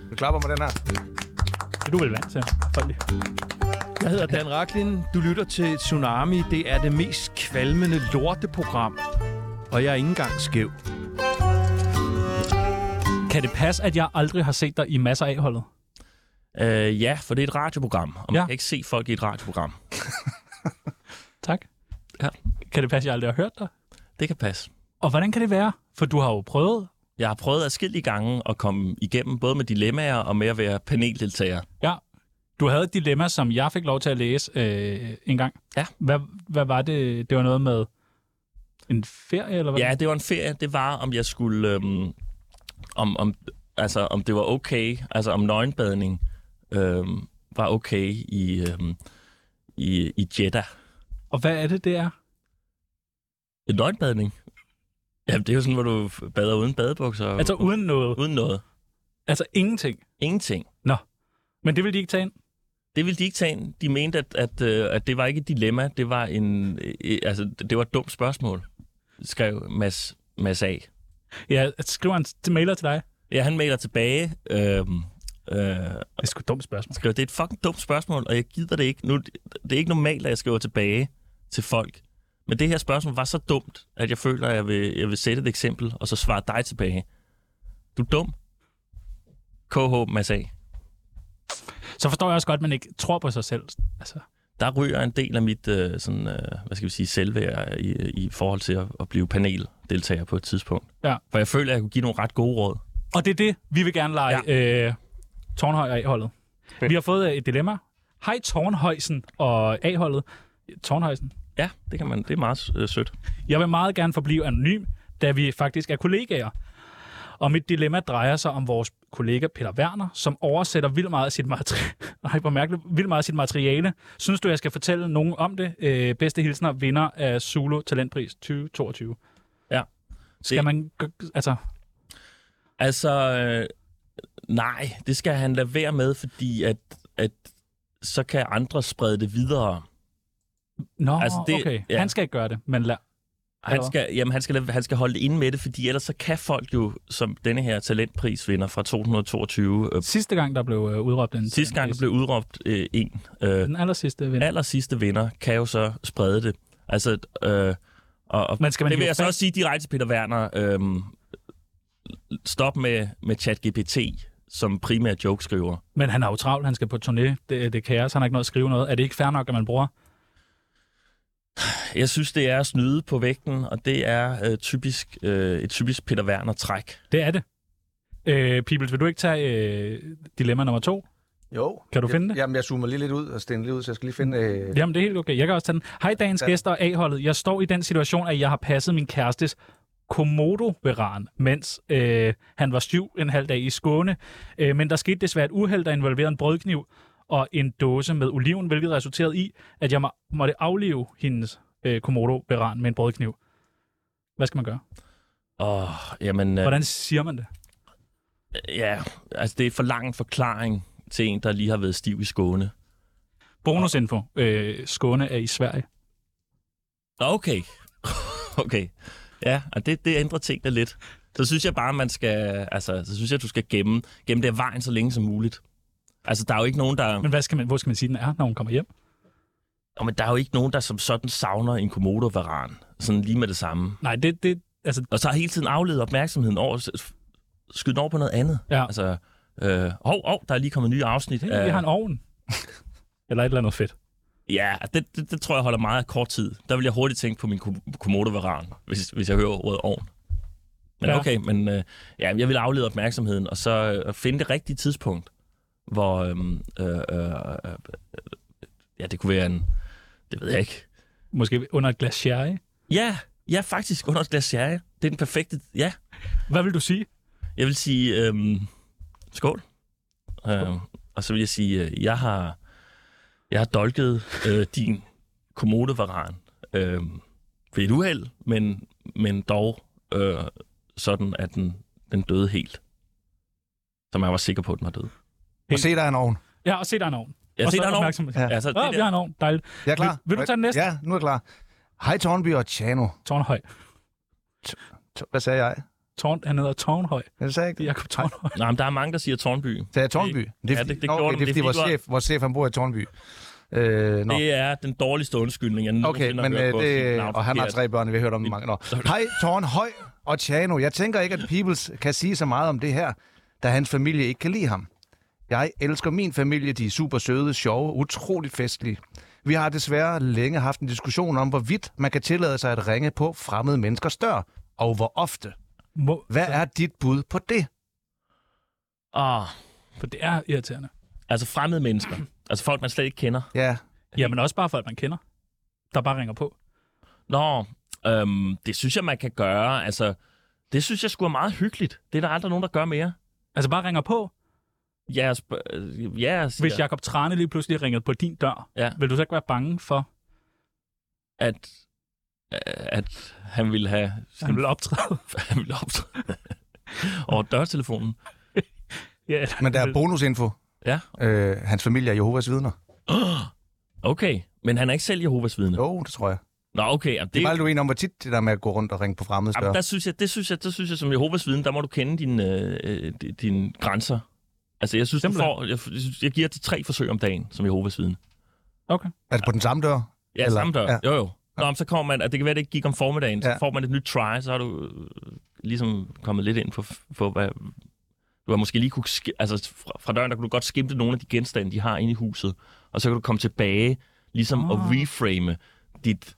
Speaker 7: Vi klapper med den her.
Speaker 2: Det er du vel vant til. Hold lige.
Speaker 8: Jeg hedder Dan Raklin. Du lytter til Tsunami. Det er det mest kvalmende lorteprogram. Og jeg er ikke engang skæv.
Speaker 2: Kan det passe, at jeg aldrig har set dig i masser af holdet?
Speaker 4: Øh, ja, for det er et radioprogram, og man
Speaker 2: Ja.
Speaker 4: kan ikke se folk i et radioprogram.
Speaker 2: Tak.
Speaker 4: Ja.
Speaker 2: Kan det passe, at jeg aldrig har hørt dig?
Speaker 4: Det kan passe.
Speaker 2: Og hvordan kan det være? For du har jo prøvet.
Speaker 4: Jeg har prøvet adskillige gange at komme igennem, både med dilemmaer og med at være paneldeltager.
Speaker 2: Ja. Du havde et dilemma, som jeg fik lov til at læse øh, en gang.
Speaker 4: Ja.
Speaker 2: Hvad, hvad var det? Det var noget med en ferie, eller hvad?
Speaker 4: Ja, det var en ferie. Det var, om jeg skulle... Øhm, om, om, altså, om det var okay. Altså, om nøgenbadning øhm, var okay i, øhm, i, i Jeddah.
Speaker 2: Og hvad er det, det er?
Speaker 4: En nøgenbadning? Jamen, det er jo sådan, hvor du bader uden badebukser.
Speaker 2: Altså uden noget?
Speaker 4: Uden noget.
Speaker 2: Altså ingenting?
Speaker 4: Ingenting.
Speaker 2: Nå. Men det vil de ikke tage ind?
Speaker 4: Det ville de ikke tage ind. De mente, at, at, øh, at det var ikke et dilemma. Det var, en, øh, altså, det var et dumt spørgsmål, skrev Mads, Mads A.
Speaker 2: Ja, skriver han til mailer til dig?
Speaker 4: Ja, han mailer tilbage. Øhm, øh, det
Speaker 2: er sgu et dumt spørgsmål.
Speaker 4: Skriver, det er et fucking dumt spørgsmål, og jeg gider det ikke. Nu, det er ikke normalt, at jeg skriver tilbage til folk. Men det her spørgsmål var så dumt, at jeg føler, at jeg vil, jeg vil sætte et eksempel, og så svare dig tilbage. Du er dum. KH Mads A.
Speaker 2: Så forstår jeg også godt, at man ikke tror på sig selv. Altså,
Speaker 4: der ryger en del af mit øh, sådan, øh, hvad skal vi sige, selvværd i, i forhold til at, at blive paneldeltager på et tidspunkt.
Speaker 2: ja.
Speaker 4: For jeg føler, at jeg kunne give nogle ret gode råd.
Speaker 2: Og det er det, vi vil gerne lege ja. øh, Tornhøj og A-holdet. Vi har fået øh, et dilemma. Hej Tornhøjsen og A-holdet. Tornhøjsen.
Speaker 4: Ja, det kan man. Det er meget øh, sødt.
Speaker 2: Jeg vil meget gerne forblive anonym, da vi faktisk er kollegaer. Og mit dilemma drejer sig om vores kollega Peter Werner, som oversætter vildt meget af sit, materi- Nej, hvor mærkeligt. Vildt meget af sit materiale. Synes du, jeg skal fortælle nogen om det? Øh, bedste hilsner, vinder af Zulu Talentpris 2022.
Speaker 4: Ja.
Speaker 2: Skal det... man... g- Altså,
Speaker 4: Altså, øh, nej, det skal han lade være med, fordi at, at så kan andre sprede det videre.
Speaker 2: nå,
Speaker 4: Altså,
Speaker 2: altså
Speaker 4: det-
Speaker 2: det, okay.
Speaker 4: ja.
Speaker 2: Ja. Han skal ikke gøre det, men lad...
Speaker 4: Han skal, jamen, han, skal, lade- han skal holde det inde med det, fordi ellers så kan folk jo, som denne her talentprisvinder fra 2022... Øh,
Speaker 2: Sidste gang, der blev øh, udråbt en
Speaker 4: sidste gang, der blev udråbt øh, en... Øh,
Speaker 2: Den aller sidste vinder.
Speaker 4: aller sidste vinder kan jo så sprede det. Altså, øh, og, og
Speaker 2: Men skal man
Speaker 4: det vil
Speaker 2: hive
Speaker 4: jeg så
Speaker 2: fat-
Speaker 4: også sige direkte til Peter Werner. Øh, stop med, med ChatGPT, som primær jokeskriver.
Speaker 2: Men han har jo travlt, han skal på turné, det, det er kaos, han har ikke noget at skrive noget. Er det ikke fair nok, at man bruger?
Speaker 4: Jeg synes, det er at snyde på vægten, og det er øh, typisk øh, et typisk Peter Werner-træk.
Speaker 2: Det er det. Øh, Pibels, vil du ikke tage øh, dilemma nummer to?
Speaker 7: Jo.
Speaker 2: Kan du
Speaker 7: jeg,
Speaker 2: finde det?
Speaker 7: Jamen, jeg zoomer lige lidt ud og stænder lige ud, så jeg skal lige finde... Øh,
Speaker 2: Jamen, det er helt okay. Jeg kan også tage den. Hej, dagens
Speaker 7: Ja.
Speaker 2: gæster og A-holdet. Jeg står i den situation, at jeg har passet min kærestes komodo veran mens øh, han var syv en halv dag i Skåne. Øh, men der skete desværre et uheld, der involverede en brødkniv og en dåse med oliven, hvilket resulterede i, at jeg må, måtte aflive hendes øh, komodo veran med en brødkniv. Hvad skal man gøre?
Speaker 4: Og, jamen, øh,
Speaker 2: Hvordan siger man det?
Speaker 4: Ja, altså det er for lang en forklaring til en, der lige har været stiv i Skåne.
Speaker 2: Bonusinfo. Øh, Skåne er i Sverige.
Speaker 4: Okay. okay. Ja, og det, det ændrer tingene lidt. Så synes jeg bare, man skal... Altså, så synes jeg, du skal gemme, gemme det af vejen så længe som muligt. Altså, der er jo ikke nogen, der...
Speaker 2: Men hvad skal man, hvor skal man sige, den er, når hun kommer hjem?
Speaker 4: Men, men der er jo ikke nogen, der som sådan savner en komodovaran. Sådan lige med det samme.
Speaker 2: Nej, det... det altså...
Speaker 4: Og så har hele tiden afledet opmærksomheden over... s- Skyd den over på noget andet.
Speaker 2: Ja.
Speaker 4: Altså, øh, hov, hov, der er lige kommet nye afsnit.
Speaker 2: Hey, vi har en ovn. Eller et eller andet fedt.
Speaker 4: Ja, det, det, det tror jeg holder meget af kort tid. Der vil jeg hurtigt tænke på min kom- komodovaran, hvis, hvis jeg hører ordet ovn. Men
Speaker 2: Ja.
Speaker 4: ja. okay, men øh, ja, jeg vil aflede opmærksomheden, og så øh, finde det rigtige tidspunkt, hvor... øhm, Øh, øh, øh, øh, ja, det kunne være en... Det ved jeg ikke.
Speaker 2: Måske under et glas sherry?
Speaker 4: Ja, ja faktisk under et glas sherry. Det er den perfekte... Ja.
Speaker 2: Hvad vil du sige?
Speaker 4: Jeg vil sige... Øhm, skål. Øhm, og så vil jeg sige, øh, jeg har... Jeg har dolket øh, din kommodevaran øh, ved et uheld, men, men dog øh, sådan, at den, den døde helt. Som jeg var sikker på, at den var død.
Speaker 7: Og se, der er en ovn.
Speaker 2: Ja, og se, der er en ovn.
Speaker 4: Jeg
Speaker 2: og
Speaker 4: se,
Speaker 2: så
Speaker 4: der er en ovn.
Speaker 2: opmærksomhed.
Speaker 4: Ja.
Speaker 2: Ja,
Speaker 4: Altså,
Speaker 2: så
Speaker 4: det
Speaker 2: det
Speaker 4: der-
Speaker 2: vi har en ovn. Dejligt.
Speaker 7: Jeg er klar.
Speaker 2: Vil, vil du tage den næste?
Speaker 7: Ja, nu er jeg klar. Hej Tornby og Tjano.
Speaker 2: Tårnhøj.
Speaker 7: T- Hvad sagde jeg?
Speaker 2: Tårn, han hedder Tårnhøj.
Speaker 7: Jeg sagde ikke.
Speaker 2: Jakob Tårnhøj.
Speaker 4: Nej, men der er mange, der siger Tornby.
Speaker 7: Sagde jeg Tornby?
Speaker 4: Det, ja, det, det, gjorde
Speaker 7: okay,
Speaker 4: den.
Speaker 7: det
Speaker 4: fordi,
Speaker 7: er fordi, vores
Speaker 4: du har-
Speaker 7: chef, vores chef han bor i Tornby. Øh, nå.
Speaker 4: Det er den dårligste undskyldning, jeg
Speaker 7: Okay,
Speaker 4: nogensinde
Speaker 7: men
Speaker 4: har hørt
Speaker 7: øh,
Speaker 4: på. at sige et
Speaker 7: det,
Speaker 4: navn
Speaker 7: og han har
Speaker 4: forkert.
Speaker 7: tre børn, vi har hørt om mange. Nå. Hej, Torn Høj og Tjano. Jeg tænker ikke, at Peoples kan sige så meget om det her, da hans familie ikke kan lide ham. Jeg elsker min familie. De er super søde, sjove, utroligt festlige. Vi har desværre længe haft en diskussion om, hvorvidt man kan tillade sig at ringe på fremmede menneskers dør, og hvor ofte.
Speaker 2: Må,
Speaker 7: Hvad er dit bud på det?
Speaker 4: Ah,
Speaker 2: for det er irriterende.
Speaker 4: altså fremmede mennesker. Altså folk, man slet ikke kender.
Speaker 7: Ja,
Speaker 2: Ja, men også bare folk, man kender, der bare ringer på.
Speaker 4: Nå, øhm, det synes jeg, man kan gøre. Altså, det synes jeg skulle er meget hyggeligt. Det er der aldrig nogen, der gør mere.
Speaker 2: Altså bare ringer på.
Speaker 4: Ja, jeg sp- øh, ja, jeg siger,
Speaker 2: Hvis Jakob Trane lige pludselig ringede på din dør,
Speaker 4: Ja.
Speaker 2: vil du så ikke være bange for,
Speaker 4: at, øh, at han ville have...
Speaker 2: at han vil optræde?
Speaker 4: han ville optræde. Over dørtelefonen.
Speaker 2: ja, eller-
Speaker 7: men der er bonusinfo.
Speaker 4: Øh. Ja,
Speaker 7: Øh, hans familie er Jehovas vidner.
Speaker 4: okay. Men han er ikke selv Jehovas vidne.
Speaker 7: Jo, det tror jeg.
Speaker 4: Nå, okay. Jamen,
Speaker 7: Det
Speaker 4: det,
Speaker 7: er bare du en om, hvor tit det der med at gå rundt og ringe på fremmede dør.
Speaker 4: jamen, der synes jeg, det synes jeg, det synes jeg som Jehovas vidne, der må du kende dine, øh, øh, di- dine grænser. Altså, jeg synes, du
Speaker 2: Simpelthen.
Speaker 4: får, jeg, synes- jeg giver til tre forsøg om dagen som Jehovas vidne.
Speaker 2: Okay.
Speaker 7: Er det på den samme dør?
Speaker 4: Ja, Eller,
Speaker 7: Eller-
Speaker 4: samme dør.
Speaker 7: ja.
Speaker 4: Ja. Jo, jo. Nå, men så kommer man, at det kan være, det ikke gik om formiddagen, ja.
Speaker 7: Ja.
Speaker 4: så får man et nyt try, så har du øh, ligesom kommet lidt ind på, på hvad, du har måske lige kunne, ski- altså fra, fra døren, der kunne du godt skimte nogle af de genstande, de har inde i huset, og så kan du komme tilbage, ligesom oh. og reframe dit,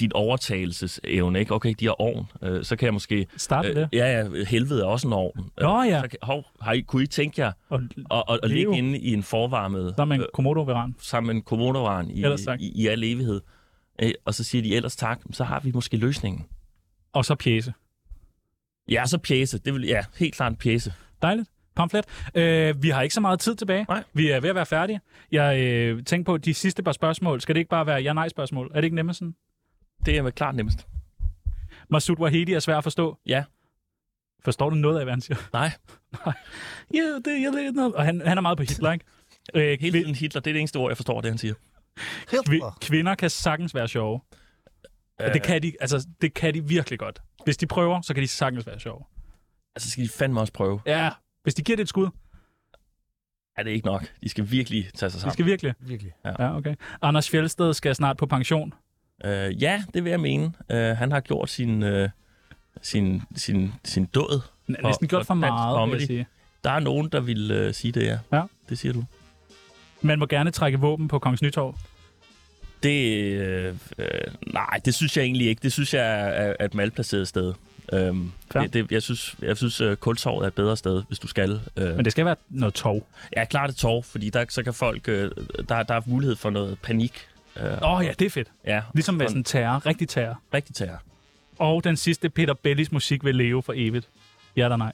Speaker 4: dit overtagelsesevne, ikke? Okay, de har ovn, øh, så kan jeg måske... øh,
Speaker 2: Start med det.
Speaker 4: ja, ja, helvede er også en ovn.
Speaker 2: Nå,
Speaker 4: Øh,
Speaker 2: ja.
Speaker 4: Så kan, hov, har I, kunne I tænke jer
Speaker 2: Og
Speaker 4: at, at, at ligge
Speaker 2: Leo.
Speaker 4: inde i en forvarmet
Speaker 2: så er man komodo-veran.
Speaker 4: sammen med en kommunevaren i,
Speaker 2: Ellers tak.
Speaker 4: i, i al evighed. Øh, Og så siger de ellers tak, så har vi måske løsningen.
Speaker 2: Og så pjæse.
Speaker 4: Ja, så pjæse. Det vil, ja, helt klart en pjæse.
Speaker 2: Dejligt. Pamflet. Øh, vi har ikke så meget tid tilbage.
Speaker 4: Nej.
Speaker 2: Vi er ved at være færdige. Jeg øh, tænkte på, de sidste par spørgsmål, skal det ikke bare være ja-nej-spørgsmål? Er det ikke nemmere sådan?
Speaker 4: Det er vel klart nemmest.
Speaker 2: Masoud Wahedi er svær at forstå.
Speaker 4: Ja.
Speaker 2: Forstår du noget af, hvad han siger?
Speaker 4: Nej,
Speaker 2: Ja, yeah, det er lidt noget. Og han, han er meget på Hitler, ikke? Øh,
Speaker 4: hele
Speaker 2: kvi-
Speaker 4: tiden Hitler. Det er det eneste ord, jeg forstår, det han siger.
Speaker 7: Hitler.
Speaker 2: kvi- kvinder kan sagtens være sjove. Øh. Det, kan de, altså, det kan de virkelig godt. Hvis de prøver, så kan de sagtens være sjove.
Speaker 4: Altså, skal de fandme også prøve.
Speaker 2: Ja, hvis de giver det et skud.
Speaker 4: Er det ikke nok? De skal virkelig tage sig
Speaker 2: De
Speaker 4: sammen.
Speaker 2: skal virkelig.
Speaker 5: Virkelig.
Speaker 2: Ja, okay. Anders Fjeldsted skal snart på pension.
Speaker 4: Øh, ja, det vil jeg mene. Øh, han har gjort sin, øh, sin, sin, sin død.
Speaker 2: N- Næsten gjort for
Speaker 4: dansk
Speaker 2: meget, vil jeg
Speaker 4: comedy.
Speaker 2: sige.
Speaker 4: Der er nogen, der vil øh, sige det, ja.
Speaker 2: Ja.
Speaker 4: Det siger du.
Speaker 2: Man må gerne trække våben på Kongens Nytorv.
Speaker 4: Det, øh, øh, nej, det synes jeg egentlig ikke. Det synes jeg er, er et malplaceret sted. Øhm,
Speaker 2: Fair.
Speaker 4: det, det, jeg synes, jeg synes uh, kultorvet er et bedre sted, hvis du skal. Øh,
Speaker 2: Men det skal være noget tov.
Speaker 4: Ja, klart et torv, fordi der, så kan folk, øh, der, der er mulighed for noget panik. Øh,
Speaker 2: Åh oh, ja, det er fedt.
Speaker 4: ja,
Speaker 2: Ligesom med
Speaker 4: Og-
Speaker 2: sådan terror. Rigtig terror.
Speaker 4: rigtig terror.
Speaker 2: Og den sidste, Peter Bellis musik vil leve for evigt. Ja eller nej?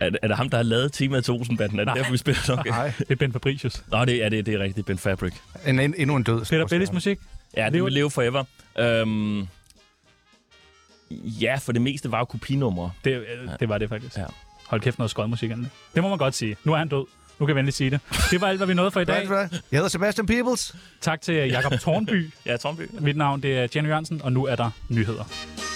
Speaker 4: Er, det- er det ham, der har lavet temaet til Olsenbanden? Er det
Speaker 2: Nej.
Speaker 4: derfor, vi spiller det? Okay.
Speaker 7: Nej.
Speaker 2: Det er Ben Fabricius.
Speaker 4: Nå, det, ja, det, det er rigtigt. Ben Fabric.
Speaker 7: En, en, endnu en død.
Speaker 2: Peter Bellis musik?
Speaker 4: Ja, det
Speaker 2: Lever
Speaker 4: vil
Speaker 2: den?
Speaker 4: leve forever. Øhm, ja, for det meste var jo kopinumre.
Speaker 2: Det, øh, det var det faktisk.
Speaker 4: Ja.
Speaker 2: Hold kæft, noget skodmusik andet. Det må man godt sige. Nu er han død. Nu kan jeg venligt sige det. Det var alt, hvad vi nåede for i dag.
Speaker 7: Jeg hedder Sebastian Peebles.
Speaker 2: Tak til Jakob Tornby.
Speaker 4: Ja, Tromby.
Speaker 2: Mit navn det er Jenny Jørgensen, og nu er der nyheder.